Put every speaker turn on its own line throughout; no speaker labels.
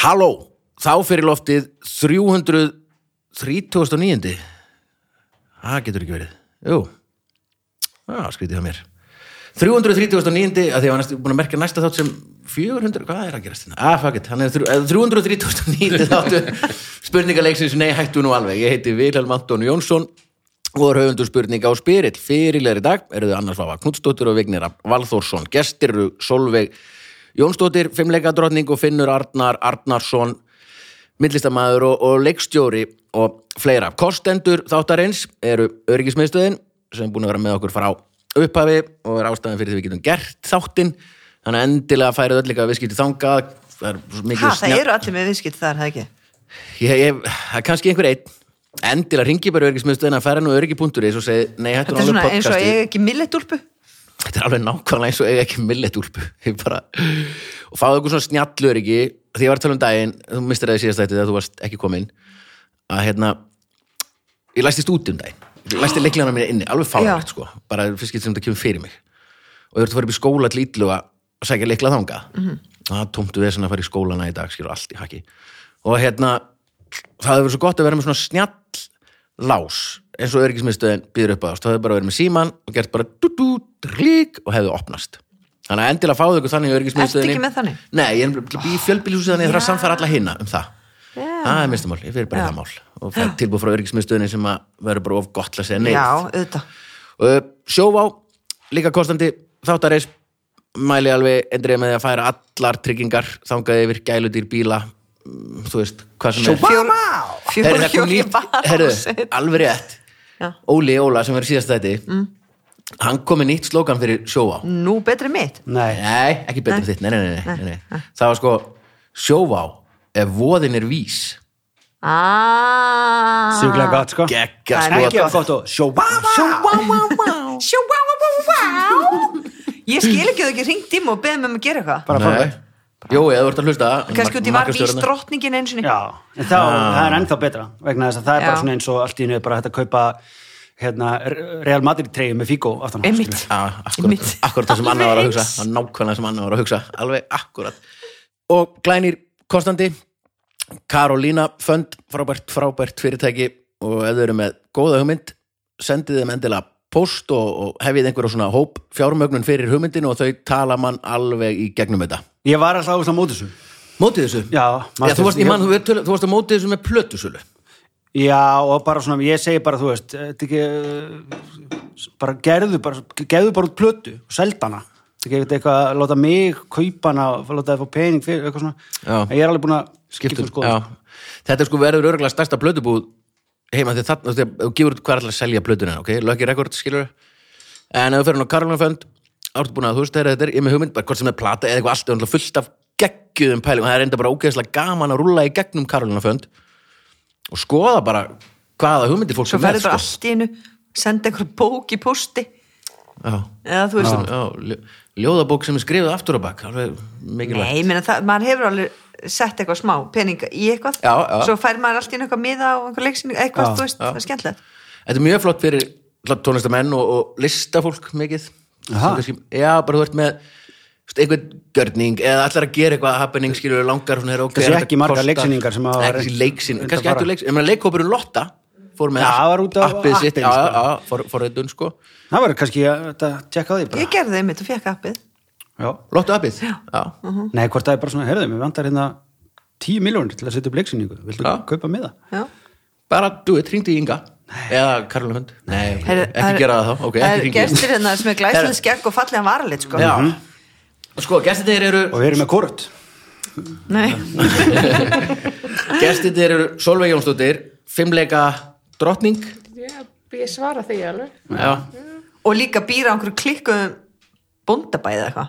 Halló, þá fyrir loftið 339. Það getur ekki verið. Jú, það skrítið á mér. 339. að því að hann er búin að merkja næsta þátt sem 400, hvað er að gerast hérna? Ah, fuck it, hann er þrjú- eh, 339. þáttu spurningaleiksins, nei, hættu nú alveg. Ég heiti Vilhelm Anton Jónsson og er höfundur spurninga á spyrill. Fyrirlegar í dag eru þau Annars Vafa Knudsdóttir og Vignir Valþórsson. Gestir eru Solveig Jónsdóttir, fimmleikadrottning og Finnur Arnar Arnarsson, millistamæður og, og leikstjóri og fleira. Kostendur þáttarins eru öryggismiðstöðin sem er búin að vera með okkur frá upphafi og er ástæðan fyrir því við getum gert þáttinn. Þannig að endilega færið öll líka viðskipti þangað. Það er svo mikið
Ha, það
snjall-
eru allir með viðskipt þar, það ekki?
Ég, ég, það er kannski einhver einn endilega ringi bara öryggismiðstöðin að færa nú öryggi.is og segi, nei, hættu nú
Þetta er svona
alveg
eins og
podcasti
eiga ekki milletúlpu.
þetta er alveg nákvæmlega eins og eiga ekki millet úlpu Ég bara... og fáðu eitthvað svona snjallur ekki því ég var að tala um daginn, þú mistir það í síðast þætti þegar þú varst ekki komin að hérna, ég læstist út um daginn ég læsti leiklana mín inni, alveg fárlegt
Já.
sko bara fyrst getur sem þetta kemur fyrir mig og ég voru að fara upp í skóla til ítlu að sækja leikla þanga mm -hmm. það tómtu þess að fara í skólana í dag, skilur allt í haki og hérna, það hefur verið svo gott að vera með svona snjall lás eins og öryggismiðstöðin býður upp á þást, það hefur bara verið með síman og gert bara dú, dú, lík og hefði opnast þannig að endilega fáðu ykkur þannig í öryggismiðstöðinni
Ertu ekki með þannig?
Nei, ég er í fjölbýlhúsi þannig að ég þarf að samfæra alla hinna um það
Já.
Það er minnstamál, ég fyrir bara í það mál og fær tilbúð frá öryggismiðstöðinni sem að verður bara of gott til að segja nei
Já, auðvitað.
Uh, Sjóvá, líka kostandi þáttareis, mæli alveg endrið með því að færa allar tryggingar þangað yfir gæludýr bíla mm, þú veist, hvað sem er Herri,
Fjóra
það kom
hjóli
nýtt- herru,
bara.
alveg rétt
Já.
Óli Óla sem er síðast þetta mm. hann kom með nýtt slókan fyrir Sjóvá
Nú betri mitt.
Nei,
Nei, ekki betur þitt, nei, nei, nei, nei, nei, nei. Það var sko, sjóvá ef voðin er vís
Ah.
sjúklega gott sko
Gekka
Það er
sko
Ekki að gott og sjóba
Sjó, wow, wow, wow. Sjó, wow, wow, wow, wow. Ég skil ekki að þau ekki ringt í mig og beðið mig um að gera eitthvað.
Bara
Nei.
frábært
Jó, eða þú ert að hlusta
Kannski út í var vís
markastjórarnar.
drottningin einu sinni.
Já, en þá,
Ah.
það er ennþá betra vegna þess að það er
Já.
bara svona eins og allt í hennu bara hægt að kaupa hérna, R- Real Madrid treyju með Figo aftan á,
Einmitt.
skilur.
Já, akkurat,
Einmitt.
akkurat það sem Anna var að
Alveg
hugsa
eins.
það var nákvæmlega sem Anna var að hugsa, alveg akkurat og glænir konstandi Karolína Fönd frábært, frábært fyrirtæki og ef þau eru með góða hugmynd sendið þeim endilega post og, og hefið einhverja svona hóp fjármögnun fyrir hugmyndinu og þau tala mann alveg í gegnum þetta
Ég var alltaf úr það mótið þessu
Mótið þessu?
Já,
Já, þú, varst, ég, man,
ég,
þú, við töl- þú varst að móti þessu með plötusölu
já, og bara svona, ég segi bara, þú veist þetta ekki, eh, bara gerðu bara, gerðu bara út plötu og seldana þetta ekki eitthvað að láta mig kaupa hana, og láta það fá pening fyrir eitthvað
Já.
svona, En ég er alveg búin að skipta um skoðun.
sko- já. Þetta er sko verður örgulega stærsta plötubúð heima því þarna, því að þú gefur út hvað er alltaf að selja plötuna, ok? Lucky Record, skilur En ef þú fyrir hann á Karlunarfönd ártu búin að þú veist þeirra þetta er, ég er með hugmynd bara hvort sem er plata eða eitthvað allt, það er náttúrulega fullt af geggjum pælum, það er enda bara ógeðslega gaman að rúlla í gegnum Karlunarfönd og skoða bara hvaða hugmyndir fólk
Svo
er
ferðu
með, sko.
bara allt í einu, senda einhver bók í posti.
Já,
Eða þú veist,
já, ljó- ljóðabók sem er skrifið aftur á bak, alveg mikilvægt
Nei, menn að maður hefur alveg sett eitthvað smá peninga í eitthvað
Já, já.
svo fær maður alltaf inn eitthvað miða og einhver leiksin eitthvað,
Já,
þú veist, það er skemmtilegt
Þetta er mjög flott fyrir flott tónlistamenn og, og listafólk mikið
Aha.
Svo kannski, Já, bara þú ert með þú veist, einhvern görning eða allar að gera eitthvað happening skilur langar svona, er, okay,
Kannski
er þetta
ekki margar
kostar?
leiksýningar sem hafa
Nei,
verið
kannski leiksin,
undanfara.
kannski ættu leiksin, ég meina leikhópurinn Lotta fór með
Já,
allt-
var út af
appið sitt,
appinu,
já,
sko.
já, já, for, forritun sko
Það verður kannski að þetta tjekka á því bara
Ég gerði þeim mitt og fekk appið
Já.
Lotta appið, já, já.
Nei, hvort það er bara svona, herðu, mér vantar hérna 10 miljónir til að setja upp leiksýningu Viltu
Já.
kaupa með það?
Já.
bara, þú veit, hringdu í Inga eða Karla Hund, nei, ok,
Heyrðu,
ekki
er-
gera það þá ok, ekki
það
hringdu
er
í Inga
Gestir hérna sem er
Heyrðu.
glæsileg skegg og fallega varalit sko.
Já. Sko, gestir eru
Og við erum með kort
Nei,
gestir eru Solveig Jónsdóttir, fimmleika drottning
Já, ég svara því alveg.
já.
Og líka býra einhverju klikkuðum bóndabæði eða eitthvað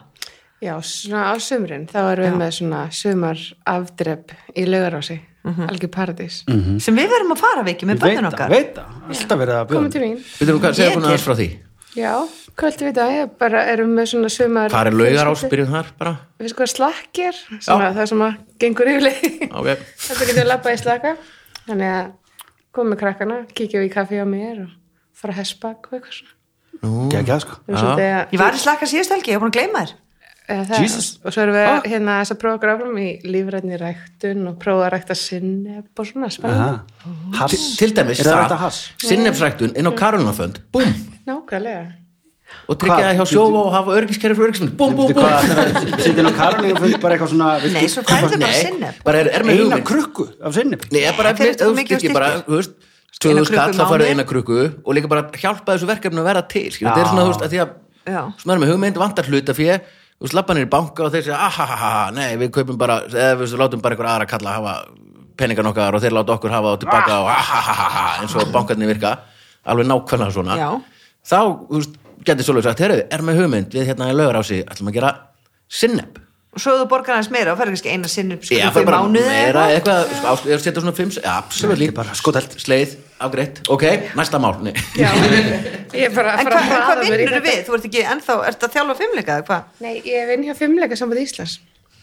Já, svona á sumrin, þá erum við með svona sumar afdrepp í laugarási, algjör paradís.
Mhm.
sem við verðum að fara við ekki með bönnun okkar
veit það, alltaf verið að bjóða
Komum til mín.
Býtum við hvað,
Ég
segja hún
til.
aðeins frá því
Já, kvöldi við dag, ég bara erum með svona sumar...
Hvað er laugar ás, byrjum þar bara
Við sko slakkir, svona það sem að gengur yfirlega.
okay.
Þetta getur að labba í slaka, þannig að komum með krakkana, kíkjum í kaffi á mér og fara að hessbak og eitthvað svona.
Gekk það sko
Við erum svolítið að...
Ég var í slakka síðust helgi, ég er búin að gleyma þér
eða það.
Jesus.
og svo erum við
Ah.
hérna þess að prófa okkur áfram í lífrænni ræktun og prófa að rækta sinneb og svona spennandi,
Aha. Hass.
Til- til dæmis
Er það rætt að hass?
sinnefsræktun inn á Karolunafönd búm,
nákvæmlega
og tryggja
Hvað?
það hjá sjófa og hafa örgiskerri frá örgismenn búm, búm,
Veitu
búm
hvað, þegar Sittin á karunni og fyrir bara eitthvað svona viltu-
Nei, svo færðu bara
Nei,
sinnef
bara er, er með
Eina
hugmynd
krukku af sinnum
Nei, ég bara,
Þetta er
ef þú
mikið
styrkir
styrkir.
bara, þú veist,
Eina
tvöðu
krukku
skall, þá
í
færðu
mánuði.
eina krukku og líka bara hjálpa þessu verkefni að vera til, skil, þetta er
Já.
svona, þú veist, að því að
Já.
svona er með hugmynd, vantar hluta fyrir þú veist, labba niður í banka og þeir segja ahahaha, nei, við kaupum bara, eða við látum bara einhver aðra kalla að hafa peningan okkar og þeir láta okkur hafa þá tilbaka og ahahaha, eins og bankarnir virka alveg nákvæmlega svona
Já.
þá, þú veist, getur svolítið sagt, heyrðu, er með hugmynd við hérna í lögur á sig, ætlum að gera sinneb
og svo þú borgar hans meira og færðu kannski eina sinni
Já, það
skrúfu í
bara
mánuði
meira eitthvað, sko, ást- ég er að setja svona fimm, ja, absolutt
Þetta er bara skotelt.
Sleið, afgreitt, ok, næsta mál, nei
já, ég er bara að
En hva, en
fara að
hvað
hraða mér í
vinnur
þetta.
við? Þú ert ekki ennþá, ert að þjálfa fimmleika eða hvað?
Nei, ég vinn hjá fimmleika sambandi Íslands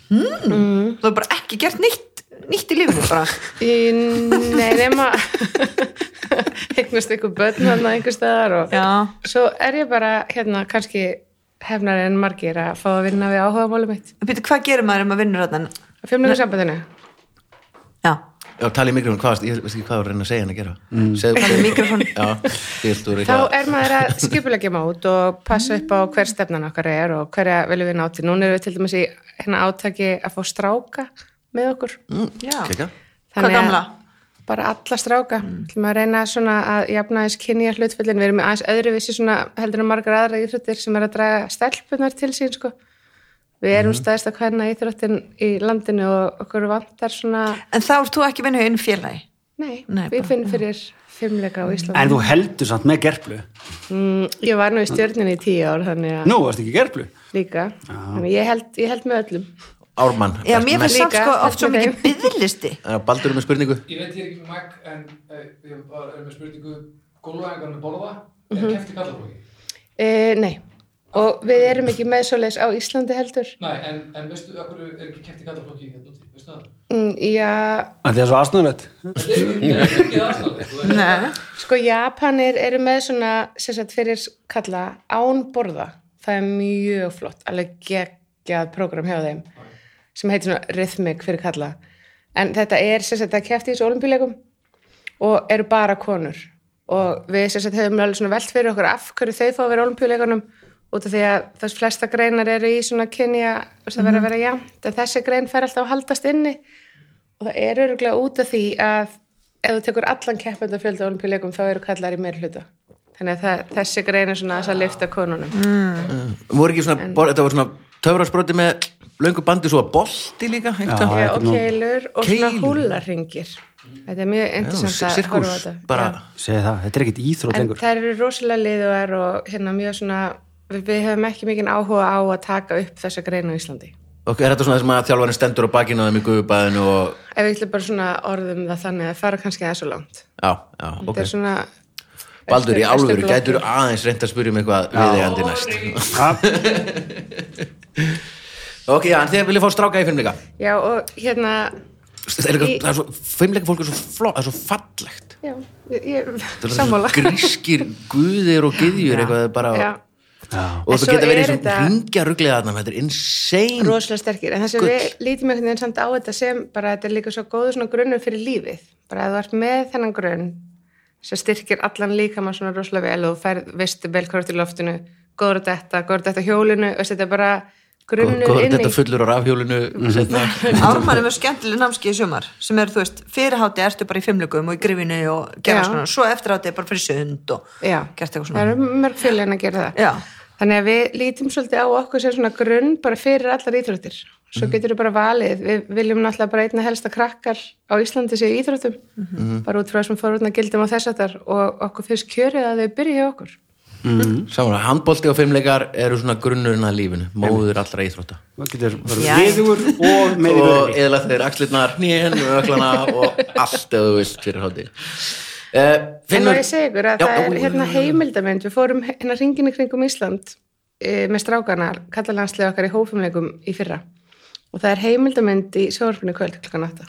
Mm.
Þú hefur bara ekki gert nýtt, nýtt í lífinu bara.
Í- Nei, nema eignast einhver börn hann einhver staðar og
Já.
svo er ég bara hérna kannski hefnar en margir að fá að vinna við áhuga málum mitt
Býtu, hvað gerir maður ef maður vinnur þarna?
að fimmlega sambandinu
Já,
Já, tala í mikrofón, hvað, varst- ég veist ekki hvað var að reyna að segja henni að gera mm. Segðu
Tala í mikrofón.
Já, fyrst úr
þá
eitthvað
er maður að skipulegja mát og passa upp á hver stefnan okkar er og hverja viljum við náti núna erum við til dæmis í hérna átaki að fá stráka með okkur
já.
Kekja.
Hvað
Þannig að-
gamla?
bara alla stráka
Mm.
til maður að reyna svona að jafna aðeins kynja hlutfellin, við erum aðeins öðruvísi svona heldur en margar aðra íþróttir sem er að draga stelpunar til sín sko við erum
Mhm.
mm. stæðist að hverna íþróttin í landinu og okkur vantar svona
En þá ert þú ekki að vinna hjá einu félagi?
nei,
Nei, bara-
við finnum fyrir fimmleika á Íslandi
En þú heldur samt með gerplu
mm, ég var nú í stjörninni í tíu ár þannig að
Nú, varst ekki gerplu
líka þannig að ég held, ég held með öllum
Ármann,
Já, mér finnst samt
Líka,
sko oft svo
með
mikið byðlisti.
Já, Baldur er með spurningu
Ég veit ég er ekki með mag en eh, við erum bara- erum með spurningu gólvæðingar með borða er kefti kallaflóki?
e, nei, og við erum ekki með svoleiðis á Íslandi heldur
Nei, en, en veistu af hverju er ekki kefti kallaflóki hérna úti? Veistu það?
mm, já,
Það er svo aðsnaðlegt
Þetta er ekki- þetta er ekki aðstæðlega þú veist.
Nei.
Sko, Japanir eru með svona, sem sagt, fyrir kalla án borða. Það er mjög flott, alveg geggjað program hjá þeim sem heitir svona Rhythmic fyrir kalla. En þetta er, sem sagt, það kefti í þessu olimpíuleikum og eru bara konur. Og við, sem sagt, hefum alveg svona velt fyrir okkur af hverju þau fá að vera í olimpíuleikunum út af því að þess flesta greinar eru í svona kynja og það verður að vera jafnt. En þessi grein fer alltaf að haldast inni og það er öruglega út af því að ef þú tekur allan keppenda fjölda olimpíuleikum þá eru kallar í meir hluta þannig að það, þessi grein er svona aðeins að lifta konunum
Mm. Voru ekki svona, bor, þetta var svona töfrasproti með löngu bandi svo að bolti líka
Já.
einhvern
þetta
Já,
er
og
nú-
keilur og svona
Keilur.
húlarringir þetta er mjög interessant
Já,
að horfa á
sirkus,
þetta
bara
Já.
Segði það, þetta er ekkit íþrótt
en
lengur
það eru rosalega liðuðar og hérna mjög svona við, við höfum ekki mikinn áhuga á að taka upp þessa grein á Íslandi
Ok, er þetta svona þess að þjálfarinn stendur á bakinu á þeim í guðubæðinu og,
ef við ætlum bara svona orðum það þannig að fara kannski aðeins og langt
já, já,
þetta
ok
er svona
Baldur, í
eftir- eftir
álfur,
glottu.
gætur aðeins reynt að spyrja um eitthvað viðeigandi næst
Ha,
Ok, já, en þið viljið fá stráka í fimmleika
já og hérna
það er,
Í-
eitthvað, það er svo, fimmleika fólk er svo flott, það er svo fallegt
Já, ég, ég
það er
sammála.
svo grískir guðir og gyðjur eitthvað bara,
Já,
já.
og
En
þú
svo
geta verið í
er
þessum
þetta-
ringja ruglega þarna, þetta er insane
rosalega sterkir. En þess að
Gull.
við lítum einhvern veginn samt á þetta sem bara þetta er líka svo góður svona grunnur fyrir lífið. Bara að þú ert með þennan grunn sem styrkir allan líka maður svona rosalega vel og þú færð, veist, vel hvort í loftinu, góður á þetta, góður á þetta á hjólinu, veist, þetta er bara grunnur
góður
inn í.
þetta fullur á rafhjólinu seinna.
Ármann er með skemmtileg námskeið í sumar sem er, þú veist, fyrirhátti ertu bara í fimmleikum og í grifinu og gera
Já.
svona svo eftirhátti er bara fyrir sund og
Já,
gert eitthvað
það
svona
eru mörg fjölin að gera það.
Já.
Þannig að við lítum svolítið á okkur sem svona grunn bara fyrir allar íþróttir. Svo getur við bara valið. Við viljum náttúrulega bara einna helsta krakkar á Íslandi séu í íþróttum, bara út frá þessum forvörna gildum og þess að þar og okkur finnst kjörið að þau byrja hjá okkur.
samanlega, handbolti og fimmleikar eru svona grunnurinn að lífinu, móður allra íþrótta
Þú getur
Já.
verið viðugur og með í
og
vörði
eðla þeir axlirnar, hnén, öklana og allt ef þú vilt fyrir hátti uh,
en má ég segja ykkur að það er hérna heimildamönd, við fórum hérna ringinu kringum Ísland e, með strákana, kallalandslega okkar í hófumleikum í fyrra og það er heimildamönd í sjónvarpinu í kvöld klukkan 8.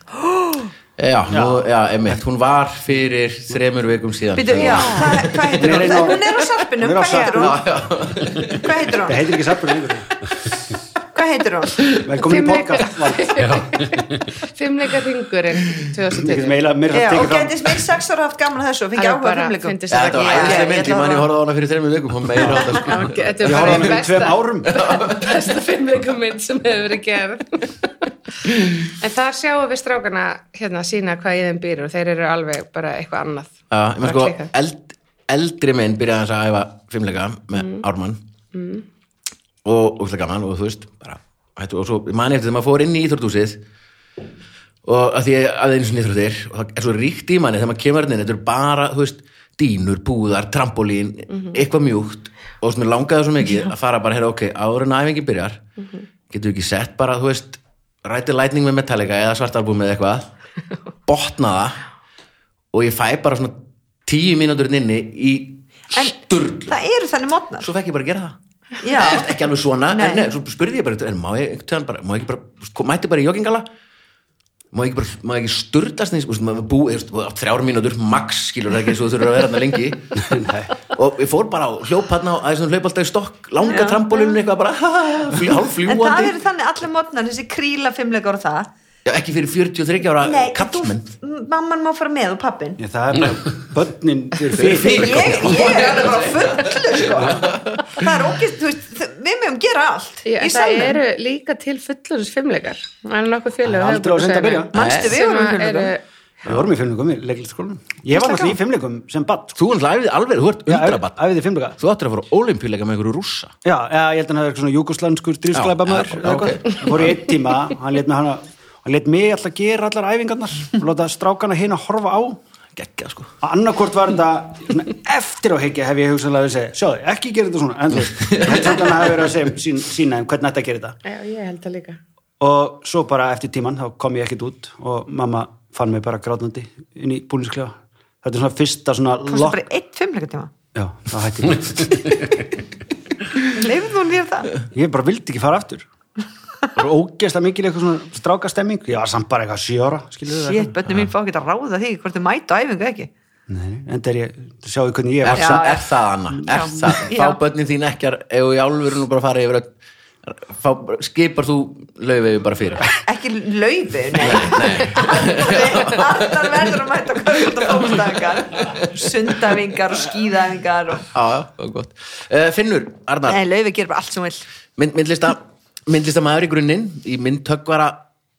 já, nú, já, emitt, hún var fyrir þremur vikum síðan
Býtu, já, hvað hvað heitir
Hún er
hún?
einu-
Hún er á sarpinum,
Hún er á
hvað heitir hún?
Já, já.
Hvað heitir
Það
hún?
heitir ekki sarpur lengur
Hvað hvað heitir hún?
Velkomin í
Fimleika-
podcast Vald.
Fimmleika ringurinn
Ég get
2020
meila mér
Já,
það
og
tekið fram
gætist minn sex ára haft gaman að þessu og fengi
Hann
áhuga
bara
frumleikum
fyndist
Þetta var æðislega mynd, ég man ég horfði á hana fyrir þreymur vikum og meira á þetta
Já,
sko.
ok,
Ég
Þetta er
horfði á hana
bara ein
fyrir tveim
besta,
árum
besta fimmleika mynd sem hefur verið gerð En þar sjáum við strákana hérna sína hvað í þeim býr og þeir eru alveg bara eitthvað annað
Já, ég maður
Bara
sko,
klikkað.
eld, eldri minn byrjaði hans að æfa fimmleika með Ármann og úrslega gaman og þú veist bara, hættu, og svo ég mani eftir þegar maður fór inn í íþróttúsið og að því ég aðeins sinni íþróttir og það er svo ríkt í manni þegar maður kemur inn þetta er bara, þú veist, dýnur, búðar, trampolín, eitthvað mjúkt og svona langaði svo mikið að fara bara, heyra, ok, áður en æfingi byrjar getur ekki sett bara, þú veist ræti lightning með Metallica eða svartalbum eða eitthvað, botna það og ég fæ bara svona tíu mínútur inni í
En
sturl
það eru þannig mótnar
svo fekk ég bara að gera það
Já,
ekki alveg svona,
Nei.
en nei, svo spurði ég bara, en má ég, einhvern tímann bara, má ég ekki bara sko, mætti bara í joggingala má ég ekki bara, má ég ekki sturdast neins, veist, maður bú, veist, á þrjár mínútur, max skilur það ekki svo þurfur að vera þarna lengi og ég fór bara á hljóp hann á aðeins svona hlaup alltaf í stokk, langa trampolunni eitthvað bara, fljú,
en það
hálfljúandi
eru þannig allir mótnar þessi kríla fimmleikar og það
Já, ekki fyrir 43 ára
Nei,
kallmenn
þú- mamman má fara með og pappin
Ég, Það er bara börnin fyrir
Fyrir-
fyrir
fyrir-
Ég, ég er alveg bara fullu sko. Það er ógist, þú veist, þ- við mögum gera allt í
Ég, Það
salnum
eru líka til fullurins fimmleikar Það er nokkuð félög
Það er aldrei of seint að byrja.
Manstu við vorum í
Sem
fimmleikum?
Við
eru
vorum í fimmleikum í leiklistaskólanum Ég var náttúrulega í fimmleikum sem sko. badd
Þú er æfið alveg, þú ert ultrabatt
Æfið í fimmleika
Þú áttir að fara á ólimpíuleika með einhverju rússa
Já, eða, ég held að hann hefði eitthvað svona júkoslanskur drýfsklæpa maður
Já,
eða
ok.
eitthvað. Það fór í einn tíma, hann let mig hana hann let mig alltaf gera allar æfingarnar og láta strákana hinn að horfa á
Gekkja, sko
að annarkort var þetta svona, eftir á higgja hef ég hugsanlega að segja sjáðu, ekki gera þetta svona en þú veist, þetta hann hafi verið að segja sín, sína um hvernig þetta gera þetta
Já, ég held það líka
og svo bara eftir tíman þá kom ég ekkert út og mamma fann mig bara grátnandi inn í búlinskljóða þetta er svona fyrsta svona
Komstu
lokk
bara eitt fimmleikatíma
já, þá hætti ég
Leifðu hún þér það?
ég bara vildi ekki fara aftur og ógeðslega mikil eitthvað svona stráka stemming ég var samt bara eitthvað sjö ára skilur þið
Sétt, bönni mín fá ekki að ráða því hvort þau mæta á æfingu eða ekki
en það er ég, það sjáðu hvernig ég
Er,
var
Já,
það,
já.
er það Anna? Er
Já.
það?
Já.
Fá börnin þín ekki að- ef þú í álfurinn og bara fara yfir öll- fá, skipar þú laufið bara fyrir
Ekki laufi, nei Allar verður að mæta kvörgjóta fólkstæðingar Sundæfingar og skíðæfingar og...
Já, já, það var gott uh, Finnur, Arnar,
Nei, laufi gerir bara allt sem hún vill
mynd, myndlista myndlista maður í grunninn í myndhöggvara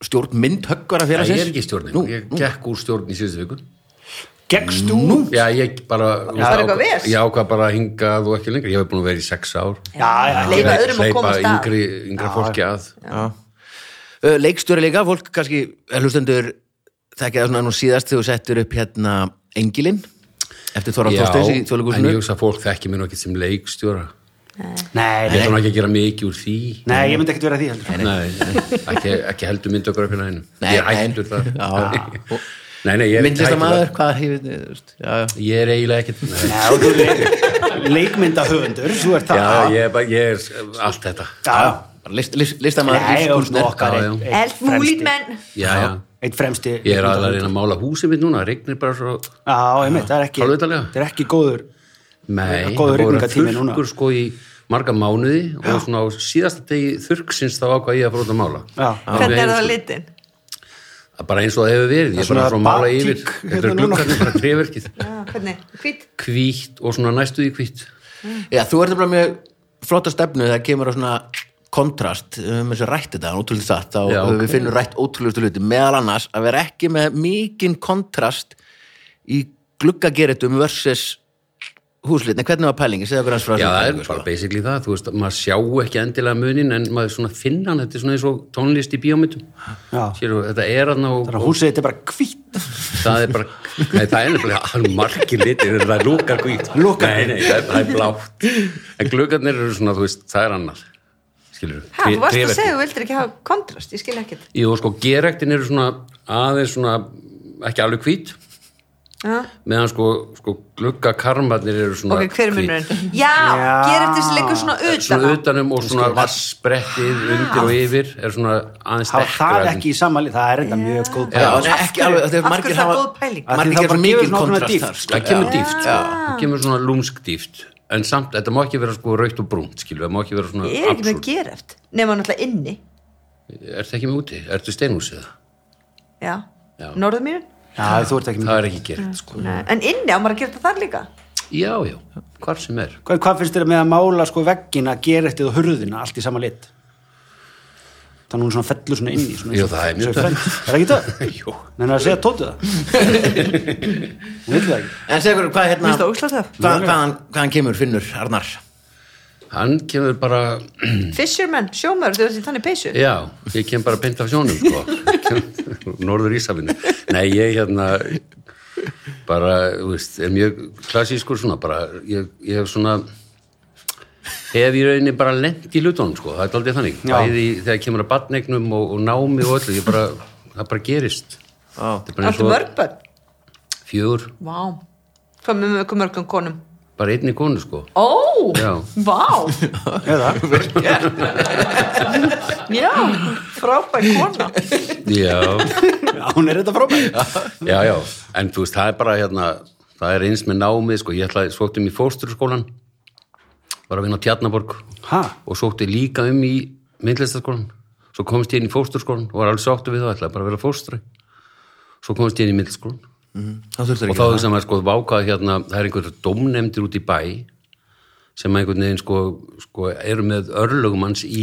stjórn myndhöggvara
Já,
félagsins
ég er ekki í stjórnin,
Nú,
ég gekk úr stjórn í síðustu viku
geggst út
Já, ég bara já,
var eitthvað ves.
Ég ákvað bara að hingað og ekki lengur Ég hef búin að vera í sex ár
já, já,
Leifa
Ég
öðrum að
hleypa
komast að
yngri, yngra fólki að
Uh, leikstjóri líka, fólk kannski eh, hlustendur þekkja það svona nú síðast þegar þú settur upp hérna Engilinn eftir Þorvald Þorsteins í
en ég
Þjóðleikúsinu
hugsa að fólk þekki mér nú ekki sem leikstjóra
nei,
Ég
nei,
ætla nú ekki að gera mikið úr því
nei, ég myndi ekkert vera að því heldur
Nei, ekki, ekki heldur myndu okkur upp hérna einum
Nei,
Ég er hættur
nei.
það
Já. Og-
Nei, nei, ég er
myndlista
hættur
maður,
það.
hvað hefur þú veist, já, já.
Ég er eiginlega ekkert nei.
Já, og þú er leikmyndahöfundur, þú ert það.
Já, ég er, bara- ég er allt þetta
Já,
Bara list, list, listamæður
Nei, og svona okkar
já, já.
einn- einn
Elf múlít menn
Já, já
Eitt fremsti.
Ég er aðlega að reyna að mála húsið mitt núna, regnir bara svo
Já, einmitt, það er ekki,
Hálfvitarlega.
það er ekki góður.
Nei,
Góður
það voru
rigningartími núna.
þurrkur sko í marga mánuði og svona á síðasta degi þurrksins þá ákvað ég að fara út að mála
Já.
Hvernig er það
Sko,
litin?
Bara eins og það hefur verið,
Það er
ég er bara
svona
frá að mála
batík
yfir
hérna
Þetta er
núna.
gluggarnir bara treverkið
Já, Hvernig? Hvít?
Hvítt og svona næstu því hvítt
Já, þú ert nefnilega mjög flotta stefnu þegar kemur á svona kontrast um þessu rætt þetta, ótrúlega satt þá
Já,
höfum við
ok.
finnum rætt ótrúlega hluti meðal annars að vera ekki með mikinn kontrast í gluggageretum versus húslit, en hvernig var pælingi, segðu okkur hans frá
Já,
þessum
það er
pælingum,
sko.
bara basically það, þú veist, maður sjá ekki endilega munin en maður svona finna hann, þetta er svona eins og tónlist í bíómyndum
Já,
Séru, þetta er hann og,
þannig að húsið þetta er bara hvitt.
það er bara, nei það er nefnilega alveg margir litir, það er lúkar hvít
Lúkar
nei, nei, það er, það er blátt en gluggarnir eru svona, þú veist, það er annar skilur,
Hæ, þú varst að segja, þú vildir ekki hafa kontrast, ég skil ekkert
Jú, sko, gerektin eru svona aðeins svona, ekki alveg hvít
Já.
meðan sko, sko gluggakarmarnir eru svona
Ok, hver er
hvít.
munurinn? Já,
Já.
gerir þetta sem liggur svona utan
svona
á.
utanum og svona vassbrettið undir og yfir er svona aðeins
Það
dekkra
það er
en-
ekki í samanlið, það er enda mjög góð.
Já,
pæling.
en ekki alveg,
Af
þegar
hverju
margir
það er
hafa
góð pæling?
Af því
margir
það
hafa
bara gefur
mikinn
svona ákveðna
kontrast
dýpt.
þar, sko.
það kemur dýft, það kemur svona lúmsk dýft en samt, þetta má ekki vera sko raukt og brúnt skilur, það má ekki vera svona
Ég er ekki með
absúrt.
gereft nema náttúrulega inni
ertu ekki með úti, ertu steinhús eða
já,
Já.
norðumýrin
Já, þú ert ekki
það
með.
er ekki gert sko,
en inni á maður að gera þetta þar líka
já, já, hvar sem er
Hvað, hvað finnst þér með að mála sko veggina, gerettið og hurðina allt í sama lit? Þannig hún svona fellur svona inn í svona,
Jú, það er mjög
svona- Er ekki það?
Jú.
Menni að segja tóttu það? Hún vil það ekki.
En segðu okkur, hvað hérna
Finnst það ógeðslega töff?
hvað, hvaðan, hvaðan kemur Finnur Arnar?
hann kemur bara,
fisherman, sjómaður, þú veist þannig peysu
já Mm. ég kem bara beint af sjónum sko. norður Ísafinu nei, ég hérna bara, þú veist, er mjög klassískur svona, bara, ég, ég hef svona hef í rauninni bara lent í hlutunum, sko, það er aldrei þannig
Já.
bæði í- þegar kemur að batnegnum og, og námi og öllu, ég bara, það bara gerist
Ó.
Þetta er bara eins
Áttu
og
mörg börn?
fjögur,
Vá Hvað með mörg mörgum konum?
bara einni konu, sko
Ó,
Já.
vá
Eða?
Já, frábær kona
já
Já, hún er þetta frábæð.
já, já, en þú veist, það er bara hérna, það er eins með námið sko, ég ætlaði, sótti um í fósturskólan var að vinna á Tjarnaborg
Ha?
og sótti líka um í myndlistaskólan, svo komst ég inn í fósturskólan og var alveg sáttu við það, ætlaði bara að vera fóstri svo komst ég inn í myndlistaskólan
Þá þurftur
og
ekki
þá
að-
hugsaði maður sko vákað hérna, það er einhverjum domnefndir út í bæ sem einhvern veginn sko, sko eru með örlögum hans í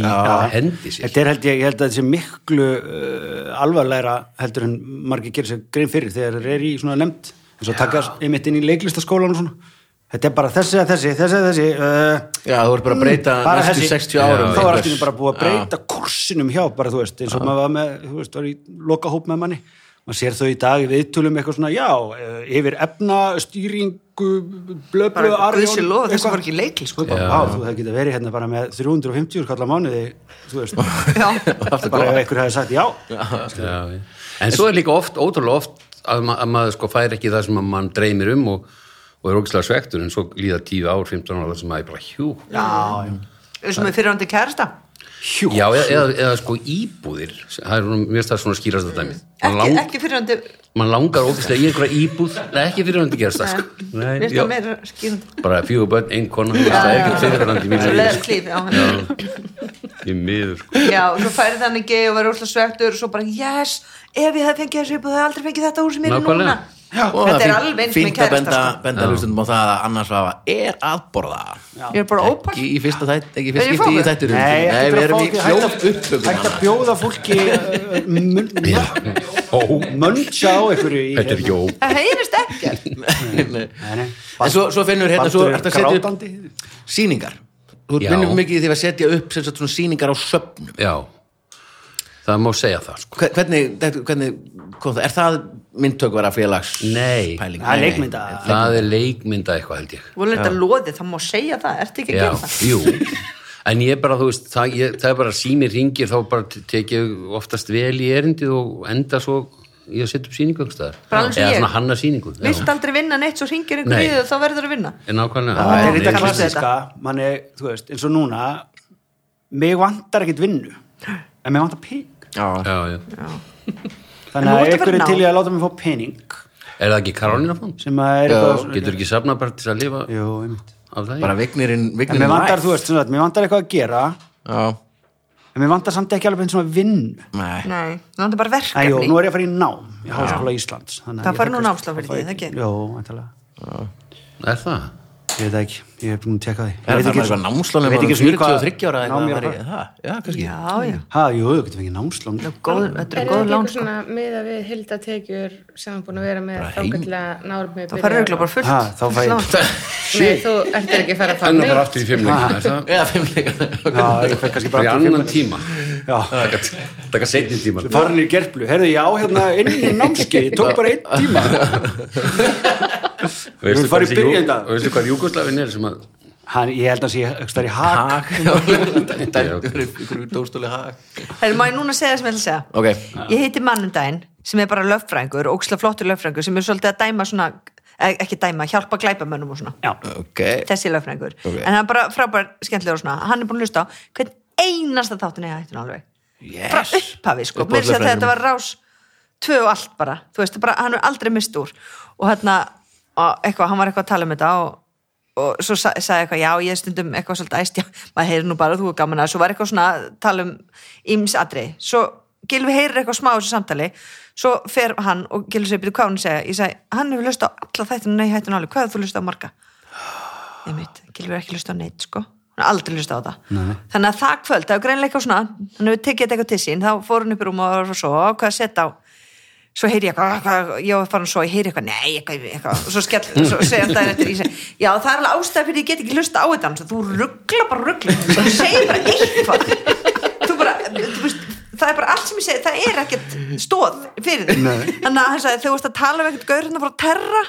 hendi sér
Þetta er held ég, ég held að þetta sé miklu uh, alvarlegra heldur en margir gerir sér grein fyrir þegar þeir eru í svona nefnd eins og taka einmitt inn í leiklistaskólan og svona. Þetta er bara þessi að þessi, þessi að þessi. Uh,
Já, þú ert bara að breyta
bara
næstu
þessi,
60 árum
þá var
einhvers.
allt í einu bara búið að breyta kursinum hjá bara þú veist, eins og maður var með þú veist, var í loka hóp með manni maður sér þau í dag í viðtölum eitthvað svona já, eh, yfir efna, stýringu blöblu,
Bara
arjón
guðsi lofa þessu
eitthvað.
var ekki leikli sko.
Svo bara, á, þú hefði getað verið hérna bara með 350 kallar mánuði, þú veist bara ef einhver hefði sagt já
já, já. en svo er líka oft, ótrúlega oft að, ma að maður sko fær ekki það sem að mann dreymir um og, og er ógislega svektur en svo líða 10 ár, 15 ár þar sem maður er bara hjú já,
Þessum með fyrirhandi kærasta
hjú,
eða, eða, eða sko íbúðir það er svona- mér finnst það svona skýrast þetta dæmi mann
Ekki,
lang,
ekki fyrirhandi
man langar ógislega í einhverja íbúð Nei, ekki fyrir hundi gerst það sko.
Mér finnst
já.
það meira skýrandi
bara fjögur börn, ein kona þú veist, það er ekki fyrir
Það
hundi
er
mín
leðast líf Já,
sko. í miður sko.
já og svo færið hann ekki og verið úrslega svektur og svo bara, yes, ef ég hef fengið þessu íbúð það hef ég aldrei fengið þetta úr sem ég er í núna
Nákvæmlega.
Og það
Þetta er
fínt-
alveg eins með
Fínt að benda,
kærasta sko.
benda hlustundum á það að annars hafa er að borða
Ég er bara ópall
Ekki í fyrsta þætt, ekki í fyrsta
Er ég
skipti í
fáið?
þættur
nei,
Nei, við erum í hljóð hérna.
hægt að, hægt að
upptökum
bjóða fólki eh, mun-
Já. Ó,
munnsjá einhverju í
þetta er ekki
hérna.
ó
Það heyrist ekkert
Nei, nei.
En svo, svo finnur hérna, svo
Baldur er
ertu að setja upp
grátandi.
sýningar Þú
Já.
minnum mikið í því að setja upp sem sagt svona sýningar á söfnum
já, það má segja það sko.
Hve- Hvernig, þetta- hvernig kom það? Er það myndtökvara félags?
Nei.
pæling?
Það
Nei,
er
nei.
leikmynda
það er leikmynda eitthvað held ég
Þú er þetta loðið, það má segja það, ertu ekki að
Já,
gera það?
jú En ég bara, þú veist, það, ég, það er bara sími ringir þá bara te- tek ég oftast vel í erindið og enda svo í að setja upp sýningu einhvers staðar.
Bara eins og
Eða
ég.
svona hanna sýningu já.
Vilt aldrei vinna neitt, svo ringir einhver
Nei.
í þig og þá verður að vinna.
En nákvæmlega
Ah,
það er
Nei,
þetta
Nei,
klassiska manni, þú veist, eins og núna mig vantar ekkit vinnu en mig vantar pening
Já,
Já, já.
þannig
En nú
að
ertu
ykkur
bara
er
nám.
til í að láta mig fá pening
Er það ekki Karolina fónd?
sem að er
Já.
eitthvað svona-
Getur ekki safna bara til að lifa
Jú, einmitt.
af það?
bara vignirinn
en
vignirinn
mig vantar,
live.
þú veist, svona, mér vantar eitthvað að gera
Já,
en mér vantar samt ekki alveg einn svona vinnu
nei
Nei, það er bara
Æjó,
verkefni.
nú er ég að fara í nám í Háskóla Íslands þannig að
Það
ég
fari nú
fæ kannski-
námslán fyrir því, það ekki?
Jó, væntanlega.
Er það?
ég veit það ekki, ég er búin að tjekka því Ég
Er
veit
það
ekki-
eitthvað námslánum
ég veit
bara
ekki svona
40 og 30 ára
hvað
eitthvað
nám ég er
var
að
í-
fara.
það? Já, kannski
Já, já,
ha, jú, þú getur fengið námslán
góð, þetta
Er
er góð
þetta ekki
lán,
eitthvað
sko.
svona miða við hildatekjur sem hann búin að vera með
Bara heim-
þákvæmlega nárum með
Það fari auðvitað bara fullt.
Ha, þá fæ ég-
Slán.
Nei, þú ert ekki að fara að
En
fara
það er aftur í fimmleik Er það?
Eða fimmleika
já, ég fæ kannski
Það er
Ah. bara
annan tíma
já,
Það er setjum tíma
farin í gerplu, heyrðu já hérna inn í námskeið, ég tók bara einn tíma Við viljum fara í byrjun dag.
Og veistu hvað Júkoslavin er sem að
hann, ég held að sé ekstra í hak
Hag Dæmdur upp ykkur dóstóli hag
Það er maður núna að segja það sem ég ætla að segja.
Ok,
Ég heiti Mannundaginn sem er bara löffrængur, óksla flottur löffrængur sem er svolítið að dæma svona, eh, ekki dæma, hjálpa glæpamönnum og svona.
já,
ok
Þessi löffrængur.
Ok.
En hann er bara frábær skemmtilegur og svona. Hann er búin að hlusta á hvern einasta þáttin ég hættin alveg. frá
Yes
upphafi sko,
Uppáhalds
mér sé að
lögfræðingur.
þetta var rás tvö og allt bara, þú veist, bara hann er aldrei mist úr og hérna, og eitthvað, hann var eitthvað að tala um þetta og, og svo sa, sagði eitthvað, já, ég er stundum eitthvað svolítið æst, já, maður heyrir nú bara að þú er gaman að svo var eitthvað svona að tala um ímsadri, svo Gilvi heyrir eitthvað smá á þessu samtali, svo fer hann og Gilvi segir, byrju hvað hann segja, ég sagði hann hefur löst á alla þættinu, nei hættinu alveg hvað hefur þú löst á marga? Ég veit, Gilvi er ekki löst á neitt, sko hann er aldrei löst á það, nei. þannig að það kvöld það er greinlega eitthvað svona, hann hefur tekið þetta eitthvað til sín þá fór hann upp í rúm og var svo hvað að setja á svo heyri ég eitthvað, eitthvað ég var farin svo, ég heyri eitthvað, nei, eitthvað, eitthvað og svo skell, svo segja hann daginn eftir í sig já, það er alveg ástæð fyrir ég get ekki hlusta á þetta hans, þú ruggla bara ruggla þú segir bara eitthvað þú bara, þú veist, það er bara allt sem ég segi það er ekkert stóð fyrir því þannig að hann sagði, þegar þú veist að tala um ekkert gaur hann að fara að terra,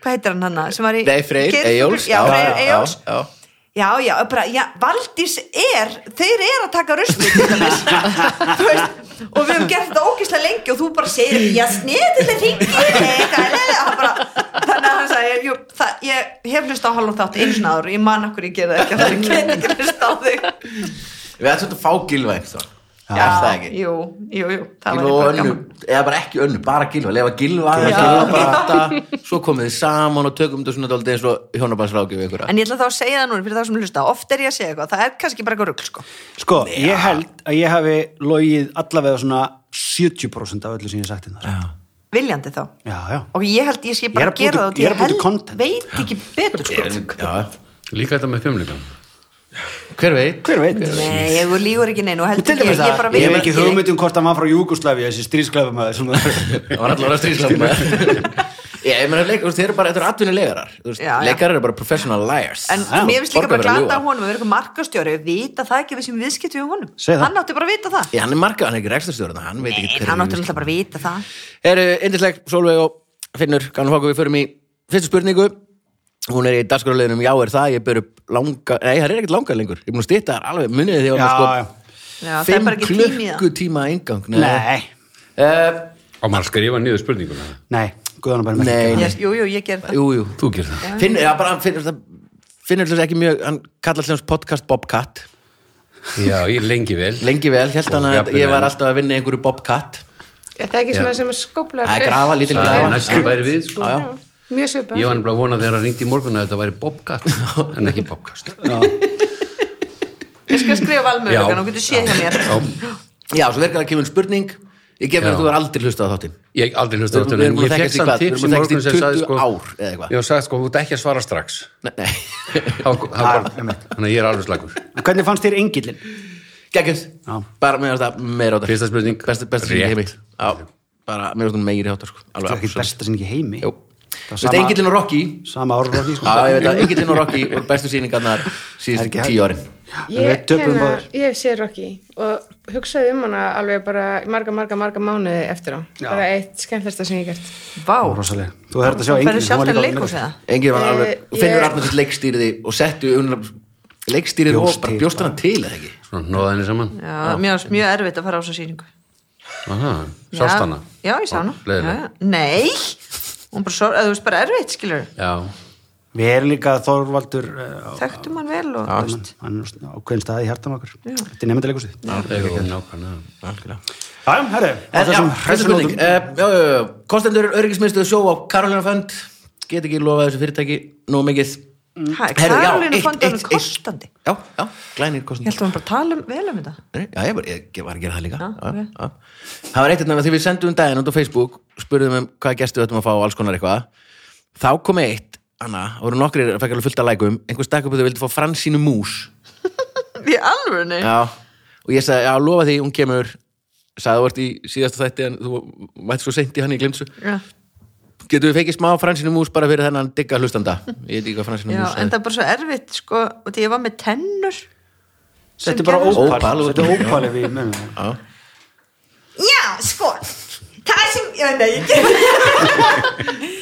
hvað heitir hann hann sem var í,
Nei, Freyr
Geir-
Eyjóls
já, Freyr Eyjóls
já, já.
Já, já, bara, já, Valdís er, þeir eru að taka rustu til dæmis Þú veist, og við höfum gert þetta ógislega lengi og þú bara segir, já, sniðið þetta ringir þannig að hann sagði, jú, það, ég hef hlust á hálfum þátt einu sinna áður, ég man okkur ég gera það ekki að það er kynni ekki hlust á þig
Við ætlum svolítið að fá gilva einhvern veginn Er það ekki?
Jú, jú, jú, það
Gilva
var
og
bara
önnu,
gaman
eða bara ekki önnu, bara gilva, lefa gilva,
Já.
gilva bara þetta Svo komið þið saman og tökum þetta svona dálítið eins og hjónabansrákjöf einhverja
En ég ætla þá að segja það núna fyrir þá sem hlusta, oft er ég að segja eitthvað, það er kannski bara eitthvað rugl, sko.
Sko, ég held að ég hafi logið allavega svona 70% af öllu sem ég hef sagt inn þar.
Viljandi þá.
Já, já.
Og ég held ég sé
Ég
bara
er að
að gera
búa
það
til-
og
ég er að búa til content.
veit ekki betur, sko.
Já,
Líka þetta með fimmleikan.
hver veit?
Hver veit?
Nei, ég lígur ekki neinu og heldur
Til
ekki, ég
dæmis það,
bara
ég hef
veit
ekki hugmynd um hvort hann var frá Júgoslavia, þessi stríðsklefumæður sem það
Það var allavega stríðslam Já, ég meina, leik- þú veist, þeir eru bara, þetta eru atvinnuleikarar Þú veist,
Já, já.
Leikarar eru bara professional liars
En
Já,
mér finnst líka bara
borgar verið að
glata á
ljúga.
honum að vera eitthvað markastjóri, vita það ekki við sem viðskiptum við honum.
Segðu það.
Hann átti bara að vita það.
Já, hann er markað, hann er ekki rekstastjórn hann veit ekki
Nei,
hverju
hann
við-
átti alltaf bara að vita það.
Eru yndisleg Solveig og Finnur Gánu Fáku, við förum í fyrstu spurningu Hún er í dagskoruleginum Já er það, ég ber upp langa Nei, það er ekkert langa lengur, ég er búin að stýta þar alveg munið því
Já,
sko,
já.
Já, það er
Fimm
bara ekki tími í það.
klukkutíma engang
Nei,
Á maður að skrifa niður spurninguna.
nei, guðan bara með
Nei, nei,
Yes, Jú, jú, ég ger það.
jú, jú
Þú ger það.
Finnur, já, bara, finnur, það, finnur þess ekki mjög Hann kallar þess podcast Bobcat
Já, ég lengi vel.
Lengi vel, held hann að
jafnvel
ég var
en-
alltaf að vinna í einhverju Bobcat
Er það ekki svona
Já.
sem að skóplar
Það er
upp?
grafa, lítil
Það er
grafa
næstum væri við, sko.
Já, já.
Mjög svipa
Ég var nefnilega að vona þegar hann ringdi í morgun að þetta væri Bobcat, en ekki Bobcast.
Ég skal skrifa valmöðugan og getur séð hjá mér.
Já,
Já, svo virkar að kemur spurning Ég gef mér
Já.
að þú er aldrei hlustað á þáttinn
ég aldrei hlust á
Við-
þetta,
við erum
en
búin
ég
að
fekk
þekkjast í
samt
hvað? Við erum
tips í
búin að
morgun sem
þekkjast í 20
sagði, sko,
ár eða eitthvað.
ég var sagt, sko, þú ert ekki að svara strax.
Nei, nei
Hann- hann bara- Þannig að ég er alveg slagur.
Hvernig fannst þér engillin?
Gekkjöð,
Já.
bara mér finnst það meira áttar
Fyrsta spurning,
Besta, besta sem
rétt.
ég heimi Já, bara mér finnst það meiri áttar sko.
Það er
Alveg
ekki
absolutt
besta sem ekki heimi.
Jú.
Það
Þetta
sama-
Engillin og Rocky
Sama orðröðni, sko.
Já, ég veit að Engillin og Rocky voru bestu sýningarnar
Það er
síðust
ekki hægt.
tíu árin
Við
Ég,
töpuðum
hérna,
báðir.
ég hef séð Rocky og hugsaði um hana alveg bara í marga, marga, marga mánuði eftir á
Já.
bara eitt skemmtlasta sem ég hef gert
Vá,
Ó, rosaleg. Þú þarf að sjá
þú
engillin.
ferður sjálf til leikhús eða?
Engillin var
Eh,
alveg,
ég-
finnur Arnaldur leikstýriði og settu um leikstýrið og
Bjóst
bara
til,
bjóst hana til eða ekki
Svona, nóða henni saman.
Já, mér varst mjög erfitt að fara á þessu sýningu.
Aha,
Já.
sást hana.
Já, ég sá hana.
Og leiðileg.
Já, já. Nei, hún bara, sor- eða þú veist bara erfitt, skilur.
Já,
Við erum líka Þorvaldur eh, á-
Þekktum hann vel og, þú veist.
hann er á hvern staði í hjartan okkur. Þetta er nefndilegusið.
Jú, nákvæmlega.
Algjörlega
Já, herru, á
En já,
þessum
þessu
hressunótum.
spurning Eh, já, já, já. Kostendur öryggismiðstöðu sjó á Karolina Fund Get ekki lofað þessu fyrirtæki Nú mikið
Hæ,
Herru, já,
Karolínu
eitt,
fóndi hann
eitt, eitt.
kostandi.
Já, já, glænir
Ég
kostendur
held að hann bara tala um, vel um þetta.
Nei, Já, ég, bara, ég var að gera það líka
Já,
já,
ok.
já. Það var eitt hérna þegar við sendum daginn út á Facebook spurðum um hvað gæstu við ættum að fá og alls konar eitthvað þá kom eitt, Anna, það voru nokkrir að fekk alveg fullt að lækum, einhver stakk upp að þau vildi fá fransínu mús
Í alvörni?
já. og ég sagði, já, lofa því, hún kemur sagði þú ert í síðasta þætti en þú mætti svo seint í hann í glimtsu
Já,
getum við fekið smá fransínu mús bara fyrir þennan digga hlustanda ég veit ekki hvað fransínu
já
mús
en það er bara svo erfitt sko, og því ég var með tennur sem
Þetta er bara
gerðist-
gerðist.
ópal.
Ópal.
Þetta er ópal ef við munum. það.
Já, sko Það sem, já, nei, ég gerði